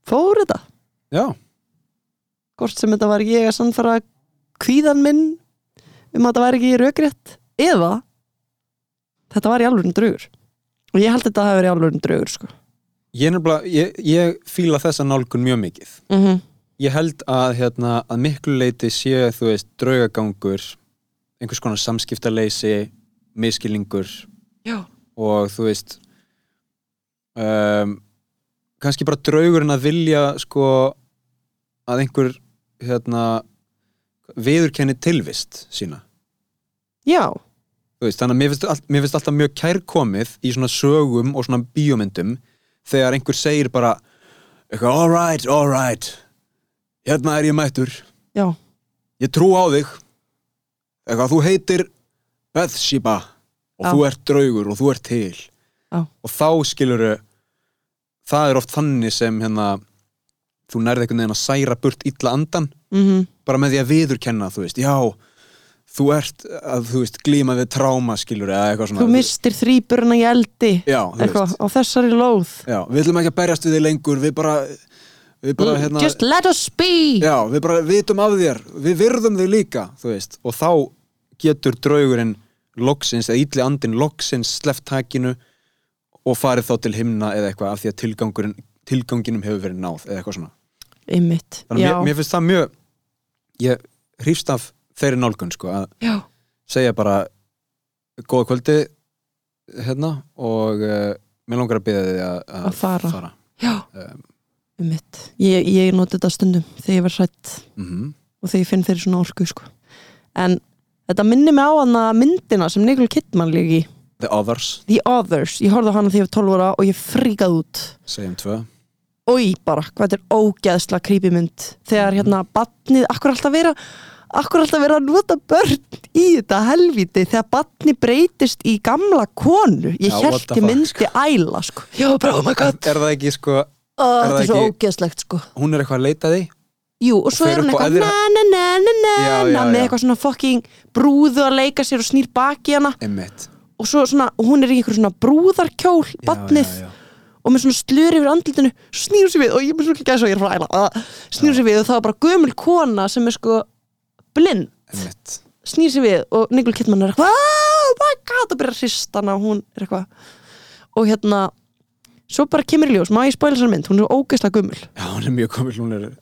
S5: fór þetta
S4: já,
S5: hvort sem þetta var ég að sannfara kvíðan minn um að þetta væri ekki raukrétt eða þetta var í alvörun draugur og ég held að þetta hafi verið í alvörun draugur sko.
S4: ég er nefnilega ég, ég fíla þessa nálgun mjög mikið
S5: mm -hmm.
S4: ég held að, hérna, að miklu leiti sé, þú veist, draugagangur einhvers konar samskiptaleysi miskilningur
S5: já,
S4: og þú veist um, kannski bara draugurinn að vilja sko að einhver hérna viðurkenni tilvist sína
S5: já,
S4: Þú veist, þannig að mér finnst, all, mér finnst alltaf mjög kærkomið í svona sögum og svona bíómyndum þegar einhver segir bara eitthvað, all right, all right hérna er ég mættur
S5: já,
S4: ég trú á þig eitthvað, þú heitir Bethsheba og
S5: Já.
S4: þú ert draugur og þú ert til
S5: Já.
S4: og þá skilur það er oft þannig sem hérna, þú nærði einhvern veginn að særa burt illa andan,
S5: mm
S4: bara með því að viðurkenna þú veist, já þú ert, að, þú veist, glíma við tráma skilur eða eitthvað svona
S5: þú mistir þrýburna í eldi
S4: já, þú
S5: eitthvað,
S4: veist,
S5: á þessari lóð
S4: já, við ætlum ekki að berjast við þig lengur við bara, við bara hérna,
S5: Mm, just let us be
S4: Já, við bara vitum af þér, við virðum þig líka, þú veist, og þá getur draugurinn loksins, eða ítli andinn loksins sleppt takinu og farið þá til himna eða eitthvað af því að tilgangurinn, tilganginum hefur verið náð eða eitthvað svona.
S5: einmitt,
S4: Þannig að
S5: já,
S4: mér, mér finnst það mjög, ég hrýfst af þeirri nálgun, sko, að
S5: já,
S4: segja bara góða kvöldi hérna og uh, mér langar að byrja þig að,
S5: Að fara.
S4: fara.
S5: já
S4: Um.
S5: einmitt, ég, ég noti þetta stundum þegar ég var hrætt
S4: Mhm.
S5: og þegar ég finn fyrir svona orku sko. en þetta minnir mig á hana myndina sem Nicole Kidman líki
S4: The Others,
S5: The Others, ég horfði á hana þegar ég var 12 ára og ég fríkaði út
S4: segjum tvö.
S5: Ói bara, hvað þetta er ógeðsla krýpimynd þegar hérna batnið, akkur er alltaf vera akkur er alltaf vera að nota börn í þetta helviti þegar batni breytist í gamla konu ég
S4: Já, what
S5: held
S4: the
S5: ég
S4: fuck,
S5: myndi æla sko. já, bara, oh my god,
S4: Er það ekki, sko,
S5: oh,
S4: er
S5: þetta
S4: það
S5: er svo
S4: ekki-
S5: ógeðslegt sko.
S4: hún er eitthvað að leita að því
S5: Jú, og svo
S4: fer
S5: er hún
S4: upp á
S5: eitthvað
S4: æðra-
S5: na na na na na
S4: Já, já,
S5: na með
S4: já.
S5: eitthvað svona fucking brúðu að leika sér og snýr baki í hana
S4: Einmitt.
S5: og svo svona, hún er í einhver svona brúðarkjól batnið
S4: já, já.
S5: og með svona slur yfir andlitinu svo snýr hún sér við og ég er með svona gæs og ég er frá æla ah, snýr hún sér við og það var bara gömul kona sem er sko blind
S4: Einmitt.
S5: snýr sér við og Nikol Kittmann er eitthvað oh my god og byrjar að hrista hana og hún er eitthvað og hérna svo bara kemur í ljós, má ég spæla þessar mynd hún er ógeðslega gömul
S4: Já, hún er mjög komil, hún er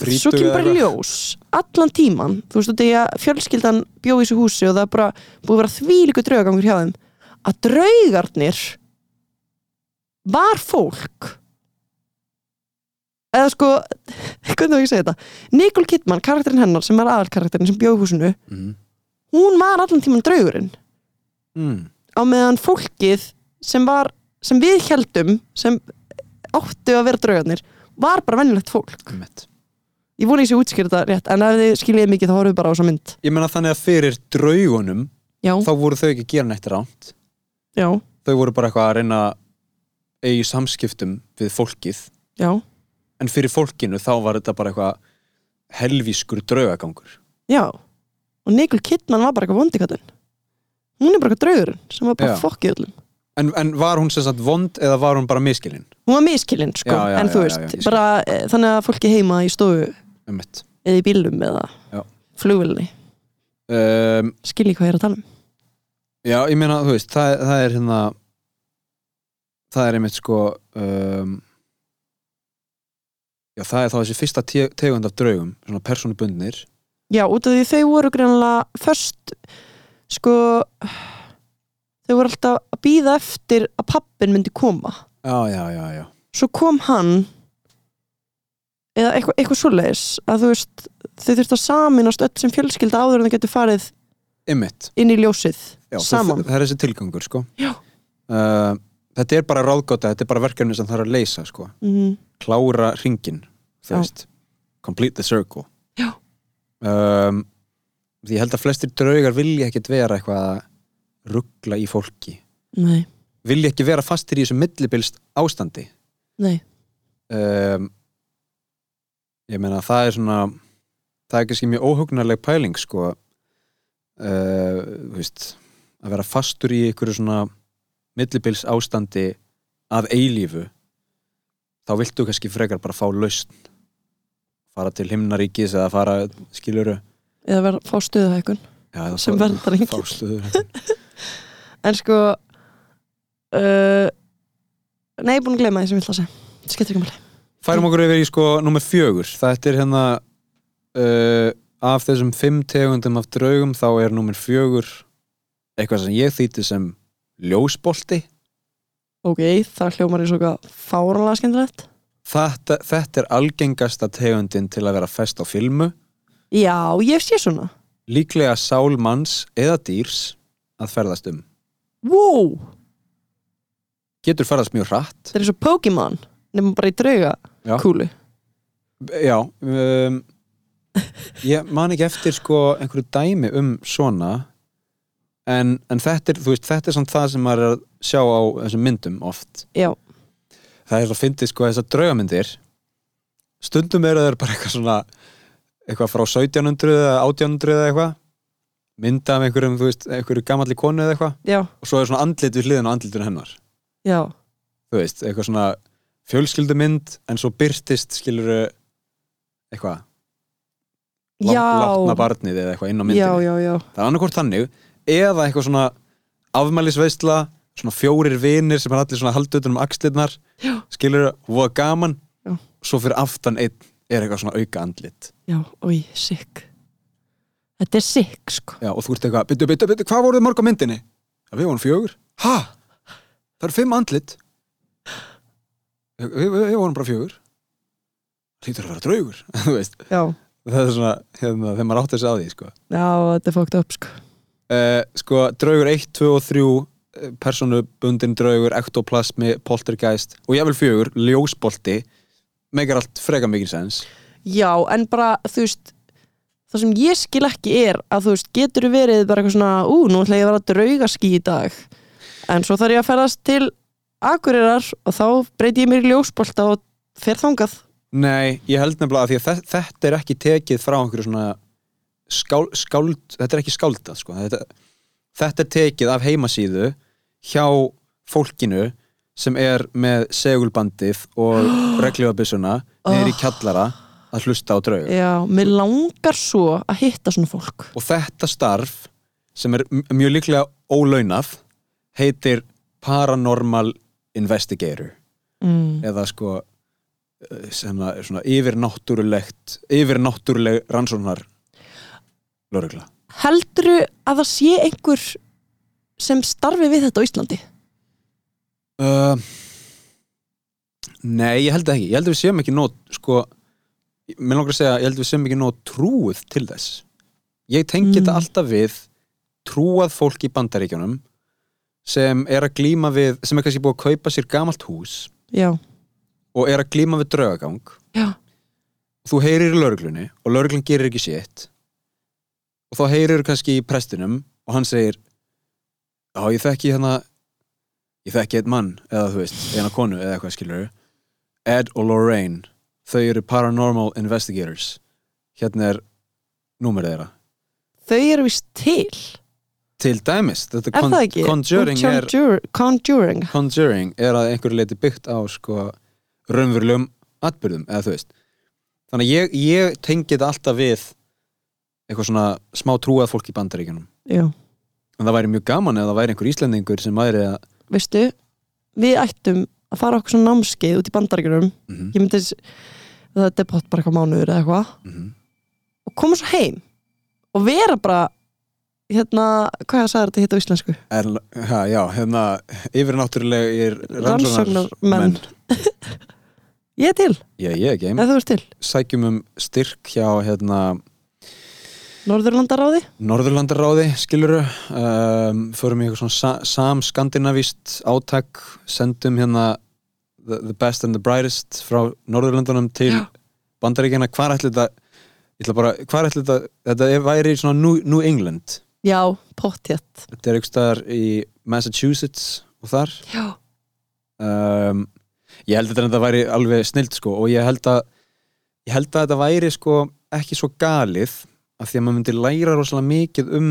S4: frítug
S5: svo kemur
S4: eða
S5: bara í
S4: eitthvað.
S5: ljós allan tíman, þú veist þetta að fjölskyldan bjó í þessu húsi og það er bara búið að vera þvílíku draugagangur hjá þeim að draugarnir var fólk eða sko [laughs] hvernig á ég að segja þetta Nikol Kittmann, karakterinn hennar sem er aðalkarakterinn sem bjó í húsinu
S4: Mhm.
S5: hún var allan tíman draugurinn
S4: Mm.
S5: á meðan fólkið sem var, sem við heldum sem áttu að vera draugarnir var bara venjulegt fólk
S4: Einmitt.
S5: ég vona ég sé að útskýra þetta rétt en ef þið skiljiði mikið þá horfum við bara á þessa mynd
S4: Ég meina þannig að fyrir draugunum
S5: já,
S4: þá voru þau ekki að gera neitt ránt
S5: já,
S4: þau voru bara eitthvað að reyna að eiga í samskiptum við fólkið
S5: já
S4: en fyrir fólkinu þá var þetta bara eitthvað helvískur draugagangur
S5: já, og Nikol Kittmann var bara eitthvað vondikallinn hún er bara eitthvað draugurinn sem var bara
S4: Já.
S5: fokkið öllum
S4: en, en var hún sem sagt vond eða var hún bara miskilinn?
S5: hún var miskilinn sko,
S4: Já, já,
S5: en þú
S4: já, já,
S5: veist
S4: já, ég skil.
S5: bara e, þannig að fólki heima í stofu
S4: Um,
S5: eða í bílum eða
S4: Já.
S5: flugvélni
S4: um,
S5: skilji hvað ég er að tala um
S4: já, ég meina, þú veist það, það er hérna það er einmitt sko um, já, það er þá þessi fyrsta te tegund af draugum svona personubundnir
S5: já, út af því þau voru greinlega först sko þau voru alltaf að býða eftir að pappin myndi koma
S4: já, já, já, já,
S5: svo kom hann eða eitthvað, eitthvað svoleiðis að þú veist, þau þurftu að saminast öll sem fjölskylda áður en þau getur farið
S4: einmitt
S5: inn í ljósið
S4: já, það-
S5: saman
S4: það er þessi tilgangur sko
S5: Já.
S4: Uh, þetta er bara ráðgáta, þetta er bara verkefni sem þarf að leysa sko
S5: Mhm.
S4: klára ringin þú
S5: Já.
S4: veist, complete the circle
S5: Já.
S4: um, því ég held að flestir draugar vilja ekkit vera eitthvað að ruggla í fólki
S5: nei,
S4: vilja ekki vera fastir í þessu millibilst ástandi
S5: nei,
S4: um, ég meina það er svona það er kannski mjög óhugnarleg pæling sko uh, þú veist, að vera fastur í einhverju svona millibils ástandi að eilífu þá viltu kannski frekar bara fá lausn fara til himnaríkis eða fara skiluru
S5: eða vera fá stuðahækun
S4: já,
S5: Sem verndar enginn.
S4: engin
S5: en sko uh, nei, ég er búin að gleyma því sem ég ætla að segja skettir ekki máli
S4: færum okkur yfir í sko nummer fjögur þetta er hérna uh, af þessum fimm tegundum af draugum þá er nummer fjögur eitthvað sem ég þýtti sem ljósbolti
S5: ok, það hljómar í svo eitthvað fáranlega skemmtilegt
S4: þetta, þetta er algengasta tegundin til að vera fest á filmu
S5: já, ég sé svona
S4: líklega sál manns eða dýrs að ferðast um
S5: wow,
S4: getur ferðast mjög hratt
S5: það er eins og Pokémon nefnum bara í drauga
S4: Já.
S5: kúlu
S4: já um, ég man ekki eftir sko einhverju dæmi um svona en, en þetta er þú veist, þetta er samt það sem maður er að sjá á þessum myndum oft
S5: já,
S4: það er svo fyndið sko þessar draugamyndir stundum eru þeir bara eitthvað svona eitthvað frá 1700 eða 1800 eða eitthvað mynda með einhverjum, þú veist, einhverju gamalli konu eða eitthvað
S5: já,
S4: og svo er svona andlit við hliðin á andlitun hennar
S5: já
S4: þú veist, eitthvað svona fjölskyldumynd en svo byrtist skiluru eitthvað, lá- látna
S5: já,
S4: barnið eða eitthvað inn á
S5: já,
S4: myndinu
S5: já, já
S4: það er annarkvort þannig, eða eitthvað svona afmælisveisla, svona fjórir vinir sem er allir svona haldutunum axlirnar skilur það, voða gaman
S5: Já.
S4: svo fyrir aftan einn er eitthvað svona auka andlit
S5: Já, oi, sikk Þetta er sikk, sko
S4: Já, og þú ert eitthvað, byttu, byttu, byttu, hvað voruð þið mörg á myndinni? Já, við vorum fjögur Ha? Það eru fimm andlit Við, við, við vorum bara fjögur Lítur að vera draugur [laughs] Þú veist,
S5: Já,
S4: það er svona hérna, þegar maður átti þessi á því, sko
S5: já þetta er fókt upp, sko
S4: uh, sko, draugur 1, 2 og 3 personubundin draugur, ektoplasmi, poltergeist og jafnvel fjögur, ljósbolti megar allt freka mikið sens
S5: Já, en bara, þú veist Það sem ég skil ekki er að, þú veist, getur verið bara eitthvað svona Ú, nú ætla ég að vera að drauga ský í dag En svo þarf ég að ferðast til Akureyrar og þá breyti ég mér í ljósbolta og fer þangað
S4: Nei, ég held nefnilega að því að þe- þetta er ekki tekið frá einhverju svona skál, skáld, þetta er ekki skáldað sko. þetta, þetta er tekið af heimasíðu hjá fólkinu sem er með segulbandið og regljóðabissuna niður í kjallara að hlusta á drauga
S5: Já, mér langar svo að hitta svona fólk
S4: og þetta starf sem er m- mjög líklega ólaunaf heitir Paranormal Investigator
S5: mm.
S4: eða sko eh, sem það er svona yfirnáttúrulegt yfirnáttúruleg rannsóknar lörgla
S5: Heldurðu að það sé einhver sem starfi við þetta á Íslandi?
S4: uh, Nei, ég held það ekki ég held að við séum ekki nót sko, mér langar að segja, ég held að við séum ekki nót trúið til þess ég tengi þetta alltaf við trúað fólk í bandaríkjunum sem er að glíma við sem er kannski búið að kaupa sér gamalt hús
S5: Já,
S4: og er að glíma við draugagang
S5: já,
S4: þú heyrir í lauruglunni og lauruglun gerir ekki sétt og þá heyrir kannski í prestinum og hann segir já ég þekki hérna ég þekki einn mann eða þú veist eina konu eða eitthvað skilur Ed og Lorraine þau eru paranormal investigators hérna er númerið þeirra
S5: þau eru vist til
S4: til dæmis þetta
S5: Er það ekki?
S4: conjuring, er,
S5: Conjure, conjuring.
S4: conjuring er að einhverju leiti byggt á sko raunverulegum atbyrðum eða þú veist þannig að ég, ég tengi þetta alltaf við eitthvað svona smá trúað fólk í bandaríkjunum
S5: Já,
S4: en það væri mjög gaman ef það væri einhver íslendingur sem væri að
S5: veistu Við ættum að fara okkur svona námskeið út í bandaríkjunum
S4: Mhm.
S5: Ég myndi s- þetta er pott bara eitthvað mánuður eða eitthvað
S4: Mhm.
S5: og koma svo heim og vera bara hérna, hvað sagði þetta hitt á íslensku?
S4: er, ha, já, hérna, yfirnáttúrulegir rannsóknarmenn
S5: Rannsóknarmenn. Ég er til,
S4: ég, ég ekki,
S5: ef þú ert til
S4: sækjum um styrk hjá hérna,
S5: Norðurlandaráði
S4: Norðurlandaráði skiluru um, förum í eitthvað svona sa samskandinavíst átak sendum hérna the, the best and the brightest frá Norðurlandunum til
S5: Já.
S4: bandaríkjana hvar ætli þetta ég ætla bara, hvar ætli þetta þetta er- væri í svona New, New England
S5: Já, pottjætt
S4: þetta er einhvers staðar í Massachusetts og þar
S5: Já,
S4: um, ég held að þetta væri alveg snilt sko og ég held að ég held að þetta væri sko ekki svo galið af því að maður myndi læra rosalega mikið um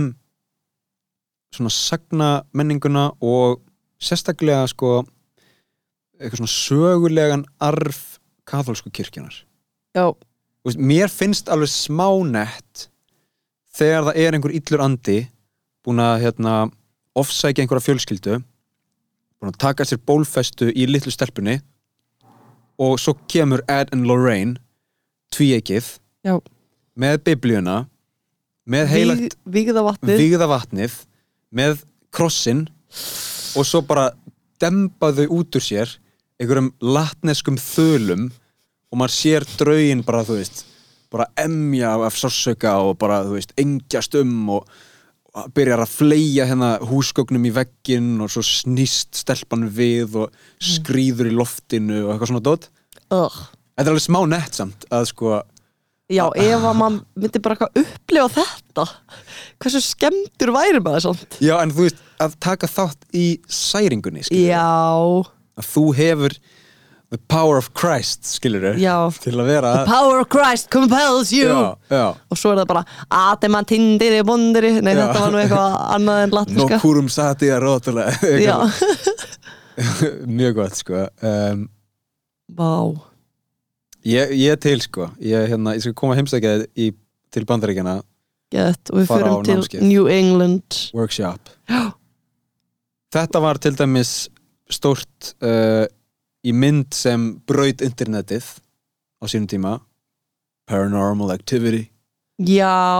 S4: svona sagna menninguna og sérstaklega sko eitthvað svona sögulegan arf katholsku kirkjunar
S5: já,
S4: Þú veist, mér finnst alveg smá nett þegar það er einhver illur andi búin að hérna, ofsækja einhverja fjölskyldu búin að taka sér bólfestu í litlu stelpunni og svo kemur Ed and Lorraine tvíekið
S5: já.
S4: með biblíuna með heilagt
S5: Vígða vatnið
S4: vigða vatnið með krossin og svo bara dembaðu út úr sér einhverjum latneskum þölum og maður sér draugin bara þú veist bara emja af sársöka og bara þú veist engjast um og og byrjar að fleia hérna húsgögnum í vegginn og svo snýst stelpan við og skrýður í loftinu og eitthvað svona dót
S5: Ugh.
S4: Þetta er alveg smá nett samt að sko
S5: Já, ef að maður myndi bara eitthvað upplifa þetta Hversu skemmtur væri maður samt
S4: Já en þú veist að taka þátt í særingunni skilurðu.
S5: Já,
S4: að þú hefur the power of Christ, skilur
S5: Já.
S4: til að vera
S5: the power of Christ compels you
S4: já, já.
S5: Og svo er það bara Atema tindiri bondiri Nei,
S4: Já.
S5: þetta var nú eitthvað annað en
S4: no
S5: latniska
S4: kurum sati að rótula
S5: sko. Já,
S4: [laughs] mjög gott sko um,
S5: vá
S4: ég, ég til sko ég, hérna, ég skal koma heimsækjaði í, til bandaríkjana
S5: Gett, og við
S4: Fara á
S5: förum til
S4: námskeið.
S5: New England
S4: workshop já. þetta var til dæmis stórt uh, í mynd sem braut internetið á sínum tíma Paranormal Activity
S5: Já,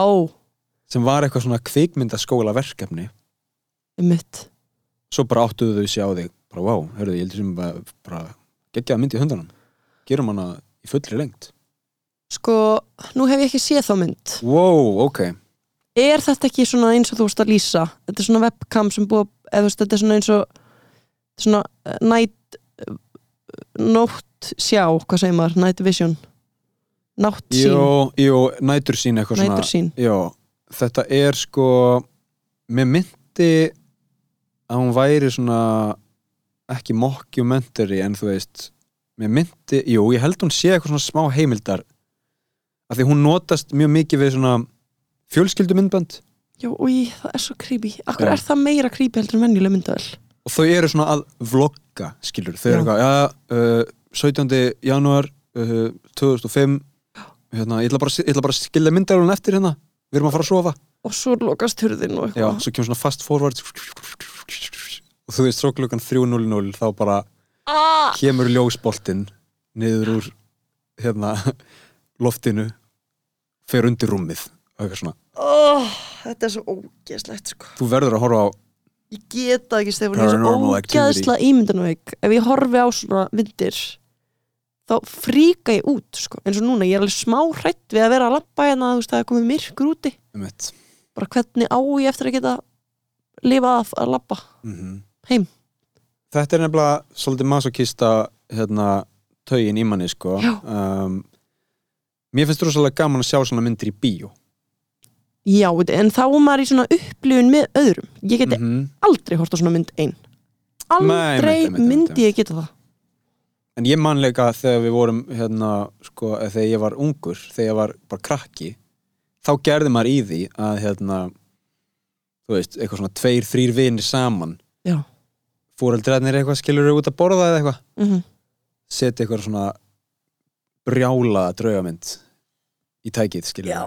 S4: sem var eitthvað svona kvikmyndaskóla verkefni
S5: mitt
S4: svo bara áttuðu þau sjá þig bara wow, hörðu, ég heldur sem bara, bara geggjaða mynd í höndunum gerum hana í fullri lengt
S5: Sko, nú hef ég ekki séð þá mynd
S4: wow, ok,
S5: er þetta ekki svona eins og þú veist að lýsa þetta er svona webcam sem búið eða þú veist, þetta er svona eins og þetta er svona eh, night nótt sjá, hvað segir maður, night vision nátt sín
S4: jú, jú nætur sín eitthvað svona
S5: nætur sín,
S4: jú, þetta er sko mér myndi að hún væri svona ekki mockumentary en þú veist mér myndi, jú, ég held hún sé eitthvað svona smá heimildar af því hún notast mjög mikið við svona fjölskyldumyndbönd
S5: Já, új, það er svo creepy Akkur
S4: Já.
S5: er það meira creepy heldur en venjuleg myndavel
S4: og þau eru svona að vlogga skilur, þau
S5: Já.
S4: eru eitthvað ja, uh, 17. janúar uh, 2005 hérna, ég ætla bara, að si- ég ætla bara að skilja myndarlun eftir hérna við erum að fara að sofa
S5: Og svo lokast hurðin og
S4: Já,
S5: eitthvað
S4: svo kemur svona fast forward og þú veist svo klukkan 3.00 þá bara
S5: ah,
S4: kemur ljósboltinn niður úr hérna loftinu fer undir rúmið og eitthvað svona
S5: oh, Þetta er svo ógeðslegt sko
S4: þú verður að horfa á
S5: Ég get það ekki Stefán, ég er svo
S4: Paranormal
S5: ógeðsla ímyndanveik Ef ég horfi á svona myndir þá fríka ég út sko. eins og núna, ég er alveg smá hrætt við að vera að labba hérna, þú veist, það er komið myrkur úti
S4: um eitt
S5: bara hvernig á ég eftir að geta lifa að, að labba
S4: Mhm.
S5: Heim.
S4: þetta er nefnilega svolítið masokista hérna taugin í manni sko
S5: Já.
S4: um, mér finnst rosalega gaman að sjá svona myndir í bíó
S5: Já, veit, en þá er maður í svona upplifun með öðrum Ég geti
S4: -hmm.
S5: aldrei hort á svona mynd einn
S4: Nei,
S5: Aldrei
S4: einmitt, einmitt, einmitt,
S5: myndi ég geta það
S4: en ég manleika þegar við vorum hérna, sko, eh, þegar ég var ungur þegar ég var bara krakki þá gerði maður í því að hérna, þú veist, eitthvað svona tveir, þrýr vinir saman
S5: Já,
S4: fóreldrarnir eitthvað skilur út að borða eða eitthvað
S5: mm
S4: setja eitthvað svona brjála draugamynd í tækið skilur
S5: Já.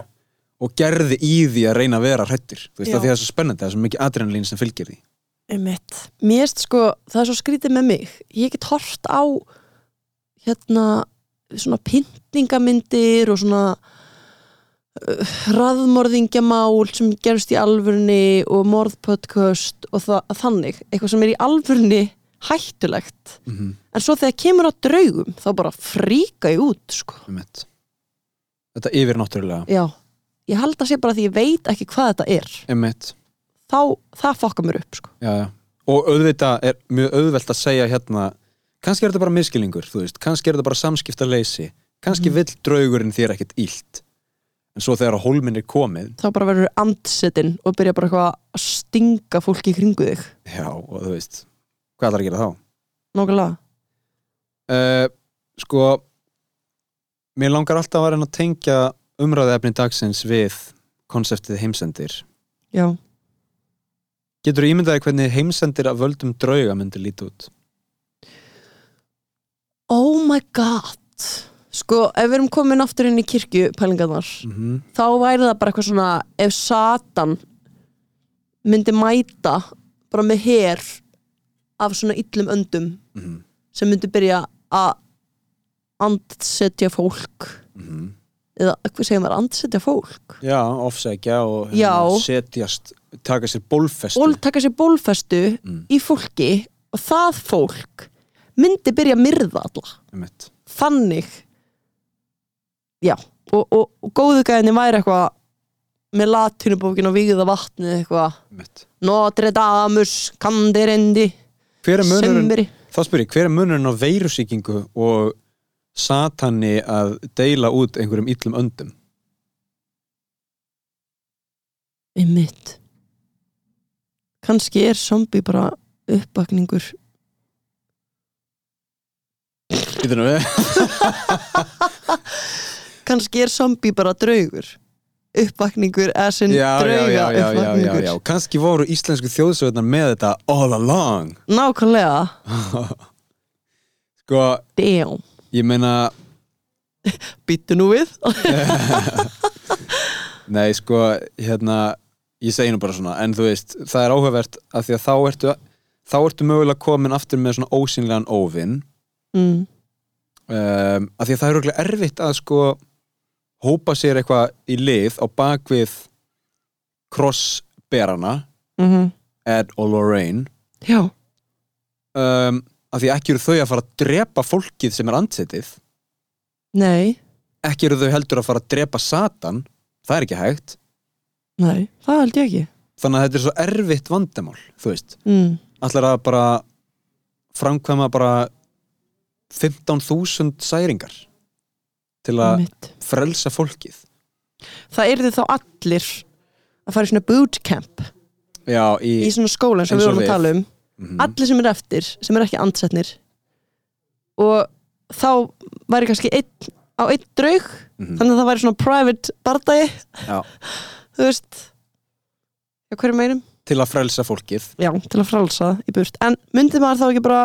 S4: og gerði í því að reyna að vera hrættur þú veist,
S5: Já.
S4: af því að það er svo spennandi, það er svo mikið adrenalín sem fylgir því
S5: Einmitt. Mér erst sko, það er svo skrítið með mig. Ég get hort á hérna svona pyntingamyndir og svona uh, raðmorðingjamál sem gerst í alvörni og morðpodcast og það, þannig. Eitthvað sem er í alvörni hættulegt.
S4: mm -hmm.
S5: En svo þegar kemur á draugum þá bara fríka ég út sko.
S4: þetta yfir náttúrulega
S5: Já, ég held að sé bara því ég veit ekki hvað þetta er.
S4: Emmett
S5: Þá, það fokka mér upp sko.
S4: já, já. og auðvitað er mjög auðvelt að segja hérna kannski er þetta bara miskilningur, þú veist kannski er þetta bara samskiptaleysi kannski vill draugurinn þér ekkert illt en svo þegar að hólminn er komið
S5: þá bara verður andsetin og byrja bara eitthvað að stinga fólki í kringu þig
S4: já, og þú veist, hvað ætlar að gera þá?
S5: Nókulega
S4: Uh, sko mér langar alltaf að reyna að tengja umræðefni dagsins við konseptið heimsendir
S5: Já,
S4: Getur ímyndaði hvernig heimsendir af völdum drauga myndi líti út?
S5: oh my god Sko, ef við erum komin aftur inn í kirkju pælingarnar,
S4: Mm
S5: þá væri það bara eitthvað svona ef Satan myndi mæta bara með her af svona illum öndum
S4: Mhm.
S5: sem myndi byrja að andsetja fólk
S4: -hmm.
S5: eða hvað segir maður, andsetja fólk
S4: Já, ofsækja og
S5: Já.
S4: hérna, setjast taka sér bólfestu
S5: og taka sér bólfestu
S4: Mm.
S5: í fólki og það fólk myndi byrja að myrða alla
S4: Einmitt.
S5: þannig já, og, og, og góðu gæðinni væri eitthvað með latunubókin og vigða vatnið eitthvað
S4: Einmitt.
S5: Notre Damus, Kandirendi
S4: Hver er munurinn
S5: Semmeri
S4: þá spyr ég, hver er munurinn á veirusíkingu og satani að deila út einhverjum illum öndum
S5: í mitt kannski er zombi bara uppakningur
S4: Getur nú við?
S5: kannski er zombi bara draugur uppakningur eða sinn
S4: [laughs] Já, já, já, já,
S5: drauga
S4: já, já, já
S5: uppakningur
S4: Kanski voru íslensku þjóðsöðnar með þetta all along
S5: nákvæmlega,
S4: Sko,
S5: damn
S4: ég meina
S5: býttu nú við
S4: Nei, sko, hérna ég segi nú bara svona, en þú veist það er áhugavert af því að þá ertu þá ertu mögulega komin aftur með svona ósynlegan óvinn
S5: mm.
S4: um, af því að það er auðvitað erfitt að sko hópa sér eitthvað í lið á bakvið crossberana
S5: Mm
S4: Ed og Lorraine
S5: já,
S4: um, af því ekki eru þau að fara að drepa fólkið sem er andsetið
S5: nei,
S4: ekki eru þau heldur að fara að drepa Satan það er ekki hægt
S5: nei það held ég ekki
S4: þannig að þetta er svo erfitt vandamál þú veist,
S5: mm.
S4: allar að bara framkvæma bara 15.000 særingar til að
S5: Einmitt.
S4: frelsa fólkið
S5: það yrði þá allir að fara í svona bootcamp
S4: já, í,
S5: í svona skóla eins og
S4: Eins
S5: við
S4: og
S5: vorum að
S4: við.
S5: tala um
S4: Mhm.
S5: allir sem eru eftir, sem eru ekki andsetnir og þá væri kannski einn, á einn draug þannig að það væri svona private bardagi
S4: Já.
S5: þú veist já, hverju meinum?
S4: til að frelsa fólkið
S5: Já, til að frálsa það í burt en myndi maður þá ekki bara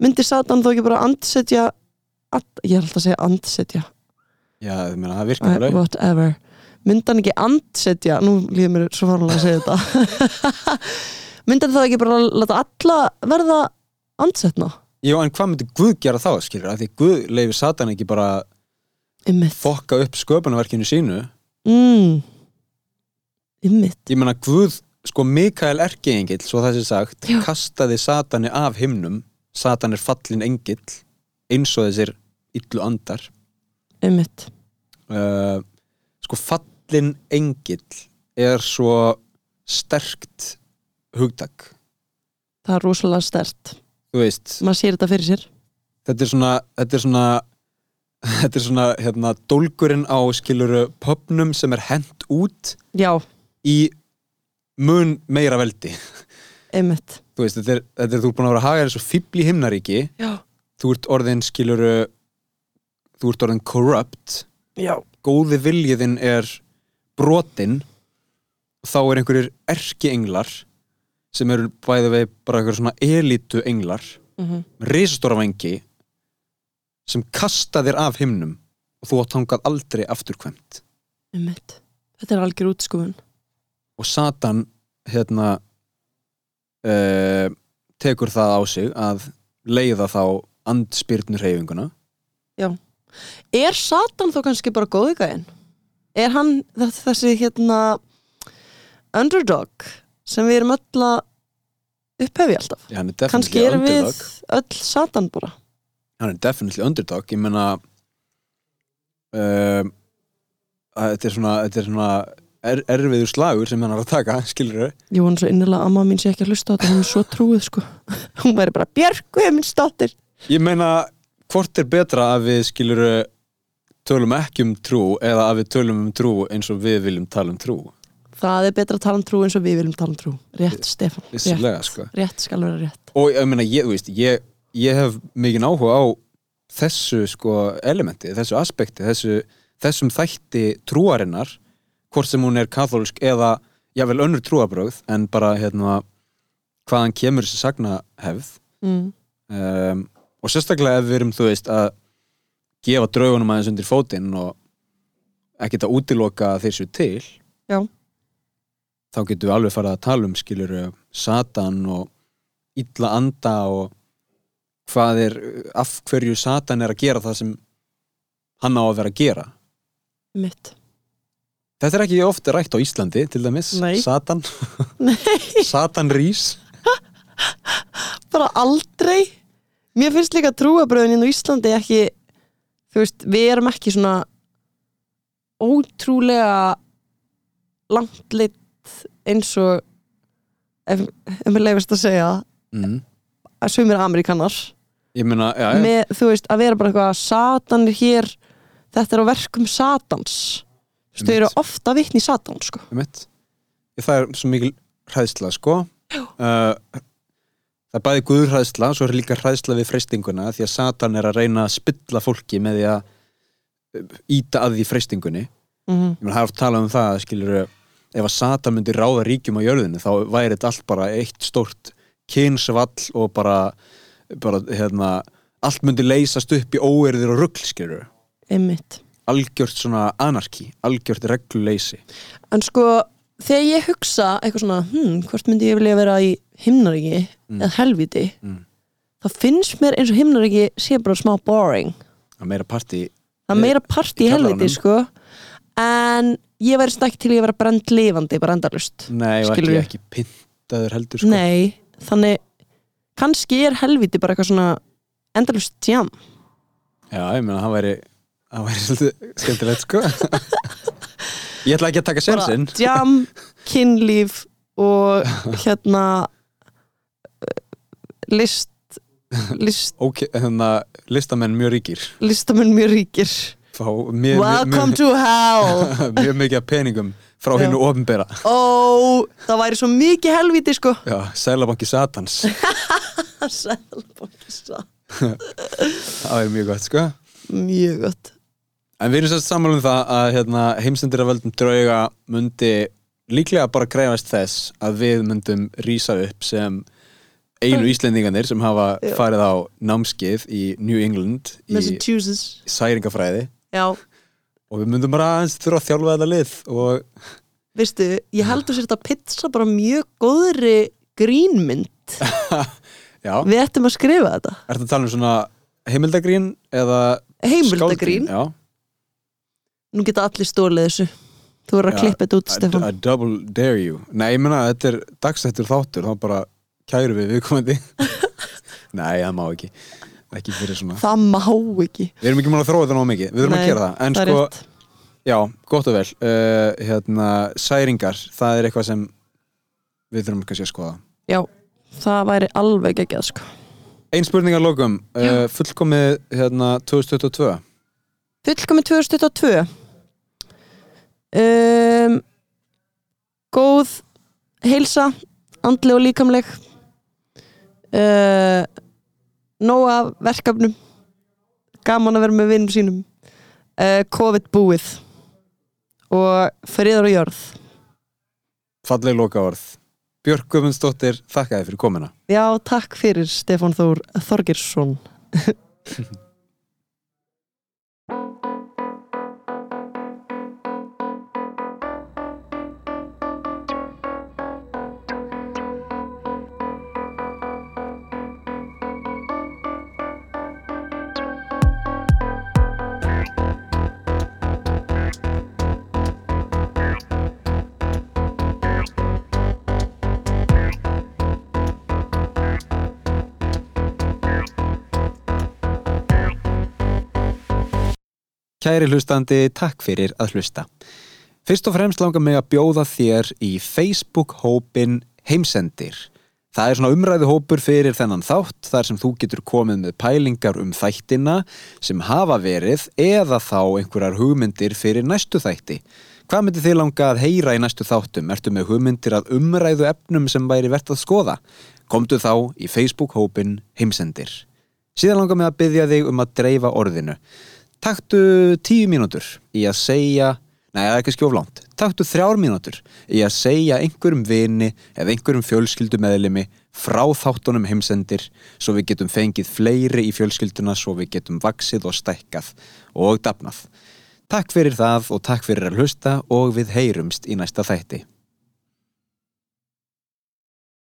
S5: myndi Satan þá ekki bara andsetja and, ég er alltaf að segja andsetja
S4: já, ég meina, það virkar
S5: Æ,
S4: alveg
S5: whatever myndi hann ekki andsetja nú líður mér svo farlega að segja þetta [laughs] myndi hann þá ekki bara láta alla verða andsetna
S4: já, en hvað myndi Guð gera þá, skilur að því Guð leifir Satan ekki bara að
S5: ymmit
S4: fokka upp sköpunarverkinu sínu
S5: mm. ymmit
S4: ég meina Guð, sko Mikael Erkeengill svo það sé sagt,
S5: Já.
S4: kastaði Satani af himnum, Satan er fallin engill, eins og þessir illu andar
S5: ymmit
S4: uh, sko fallin engill er svo sterkt hugtak
S5: það er rosalega stert
S4: þú veist,
S5: maður sér þetta fyrir sér
S4: þetta er svona þetta er svona [laughs] þetta er svona, hérna, dólgurinn á skiluru pöpnum sem er hent út
S5: já,
S4: í mun meira veldi
S5: ymmit
S4: þú veist, þetta er, þetta er þú er búin að vera að haga þessu fíbl í himnaríki
S5: já,
S4: þú ert orðin skiluru þú ert orðin corrupt
S5: já
S4: góði viljiðin er brotin þá er einhverjir erki englar sem eru bæði vegi bara einhverjir svona elitu englar
S5: mm
S4: risastóra vengi sem kasta þér af himnum og þú átt hangað aldrei afturkvæmt
S5: ymmit þetta er algjör útskúfun
S4: og Satan hérna uh, tekur það á sig að leiða þá andspyrnur reyfinguna
S5: er Satan þó kannski bara góði gæinn? Er hann þ- þessi hérna underdog sem við erum öll að upphefi alltaf?
S4: hann er
S5: Kannski
S4: definitely
S5: erum við
S4: underdog
S5: öll Satan bara.
S4: hann er definitely underdog ég meina uh, þetta er svona, þetta er svona er, erfiður slagur sem hann er að taka [laughs] skilur þau
S5: Ég vona svo innilega að amma mín sé ekki að hlusta á þetta, hún er svo trúið sko. [laughs] Hún væri bara Björk Guðmundsdóttir.
S4: Ég meina, hvort er betra að við skilur tölum ekki um trú eða að við tölum um trú eins og við viljum tala um trú
S5: Það er betra að tala um trú eins og við viljum tala um trú. Rétt, Stefán. Rétt,
S4: vissulega, sko
S5: rétt skal vera rétt.
S4: og ég meina, ég, þú veist, ég, ég hef mikið áhuga á þessu sko elementi, þessu aspekti þessu, þessum þætti trúarinnar hvort sem hún er katholsk eða jável önnur trúabrögð en bara hérna hvaðan kemur þessi sagna hefð
S5: Mm.
S4: um, og sérstaklega ef við erum þú veist að gefa draugunum aðeins undir fótinn og ekkert að útiloka að þeir séu til
S5: Já.
S4: þá getum við alveg farið að tala um skilur Satan og illa anda og hvað er, af hverju Satan er að gera það sem hann á að vera að gera
S5: Mitt.
S4: Þetta er ekki ofta rætt á Íslandi til dæmis,
S5: Nei.
S4: Satan [laughs] Satan rís
S5: bara aldrei mér finnst líka trúabröðin í Íslandi ekki þú veist, við erum ekki svona ótrúlega langt lit eins og ef, ef mér leifist að segja
S4: mm.
S5: að sumir amerikanar
S4: Ég meina, já, já,
S5: með, þú veist, að vera bara eitthvað að Satan er hér, þetta er á verkum Satans Þú veist, þau eru
S4: Einmitt.
S5: ofta vitni í Satan sko.
S4: Einmitt. Ég, það er svo mikil hræðsla sko uh, það er bæði guður hræðsla svo er líka hræðsla við freystinguna því að Satan er að reyna að spilla fólki með því að uh, íta að því freystingunni ég
S5: mm
S4: meina það er oft talað um það skilur ef að Satan myndi ráða ríkjum á jörðinu þá væri þetta allt bara eitt stórt kynsvall og bara, bara hérna, allt myndi leysast upp í óerðir og rugl skilur
S5: einmitt
S4: algjört svona anarki algjört regluleysi
S5: En sko, þegar ég hugsa eitthvað svona, hm, hvort myndi ég vilja vera í himnaríki eða helviti
S4: Mm.
S5: þá finnst mér eins og himnaríki sé bara smá boring
S4: að meira parti
S5: það er
S4: Í-
S5: meira part
S4: í
S5: í helviti
S4: kjallaranum.
S5: sko en ég væri svona ekki til í að vera brend lifandi, bara endalust
S4: Nei, og ekki,
S5: Skilurðu?
S4: ekki pyntaður heldur sko.
S5: Nei, þannig kannski er helviti bara eitthvað svona endalust jam
S4: Já, ég meina, það væri það væri svolítið skemmtilegt sko Ég ætla ekki að taka
S5: Bara
S4: sensinn
S5: jam,
S4: [laughs]
S5: kynlíf og hérna eh, list list,
S4: Ok, þannig að listamenn mjög ríkir
S5: listamenn mjög ríkir
S4: fá mjög,
S5: Welcome
S4: mjög,
S5: to
S4: [laughs]
S5: hell
S4: mjög, mjög mikið af peningum frá
S5: Já.
S4: hennu ofinbera
S5: Ó, Oh, það væri svo mikið helviti sko
S4: Já, Sælabanki Satans
S5: Sælabanki Satan
S4: það er mjög gott sko
S5: mjög gott
S4: en við erum sérst sammála um það að hérna, heimsendir af völdum drauga myndi líklega bara krefast þess að við myndum rísa upp sem einu Íslendinganir sem hafa
S5: Já.
S4: farið á námskið í New England í
S5: Massachusetts,
S4: særingafræði
S5: já
S4: og við myndum bara aðeins þurfa að þjálfa þetta lið og
S5: veistu, ég heldur sér þetta pizza bara mjög góðri grínmynd
S4: [laughs] já,
S5: við ættum að skrifa þetta
S4: ertu að tala um svona heimildagrín eða
S5: Heimildagrín?
S4: skáldgrín? já,
S5: nú geta allir stólið þessu þú verður að
S4: Já,
S5: klippa þetta út, Stefán
S4: I, I double dare you Nei, ég meina, þetta er dagstættur þáttur þá bara kæru við
S5: [laughs]
S4: viðkomandi Nei, það má ekki ekki fyrir svona
S5: það má ekki
S4: Við erum ekki múin að þróa þetta ná mikið, við þurfum að gera það En
S5: það er
S4: sko,
S5: rétt.
S4: já, gott og vel uh, hérna, Særingar, það er eitthvað sem við þurfum kannski að skoða
S5: já, það væri alveg ekki að sko
S4: Ein spurning að lokum, uh, fullkomið hérna, 2022
S5: Fullkomi 2022 um, Góð heilsa andleg og líkamleg uh, Nóg af verkefnum Gaman að vera með vinnum sínum uh, COVID búið og friðar og jörð
S4: Falleg lokaorð Björk Guðmundsdóttir, þakka þið fyrir komuna
S5: Já, takk fyrir Stefán Þór Þorgirsson
S4: Kæri hlustandi, takk fyrir að hlusta. Fyrst og fremst langar mig að bjóða þér í Facebook-hópin Heimsendir. Það er svona umræðuhópur fyrir þennan þátt þar sem þú getur komið með pælingar um þættina sem hafa verið eða þá einhverjar hugmyndir fyrir næstu þætti. Hvað myndir þið langa að heyra í næstu þáttum? Ertu með hugmyndir að umræðu efnum sem væri vert að skoða? Komdu þá í Facebook-hópin Heimsendir. Síðan langar mig að byggja þig um að dreifa orðinu. Taktu tíu mínútur í að segja, nei það er ekki skjóflant, taktu þrjár mínútur í að segja einhverjum vini eða einhverjum fjölskyldumeðlimi frá þáttunum heimsendir svo við getum fengið fleiri í fjölskylduna svo við getum vaksið og stækkað og dafnað. Takk fyrir það og takk fyrir að hlusta og við heyrumst í næsta þætti.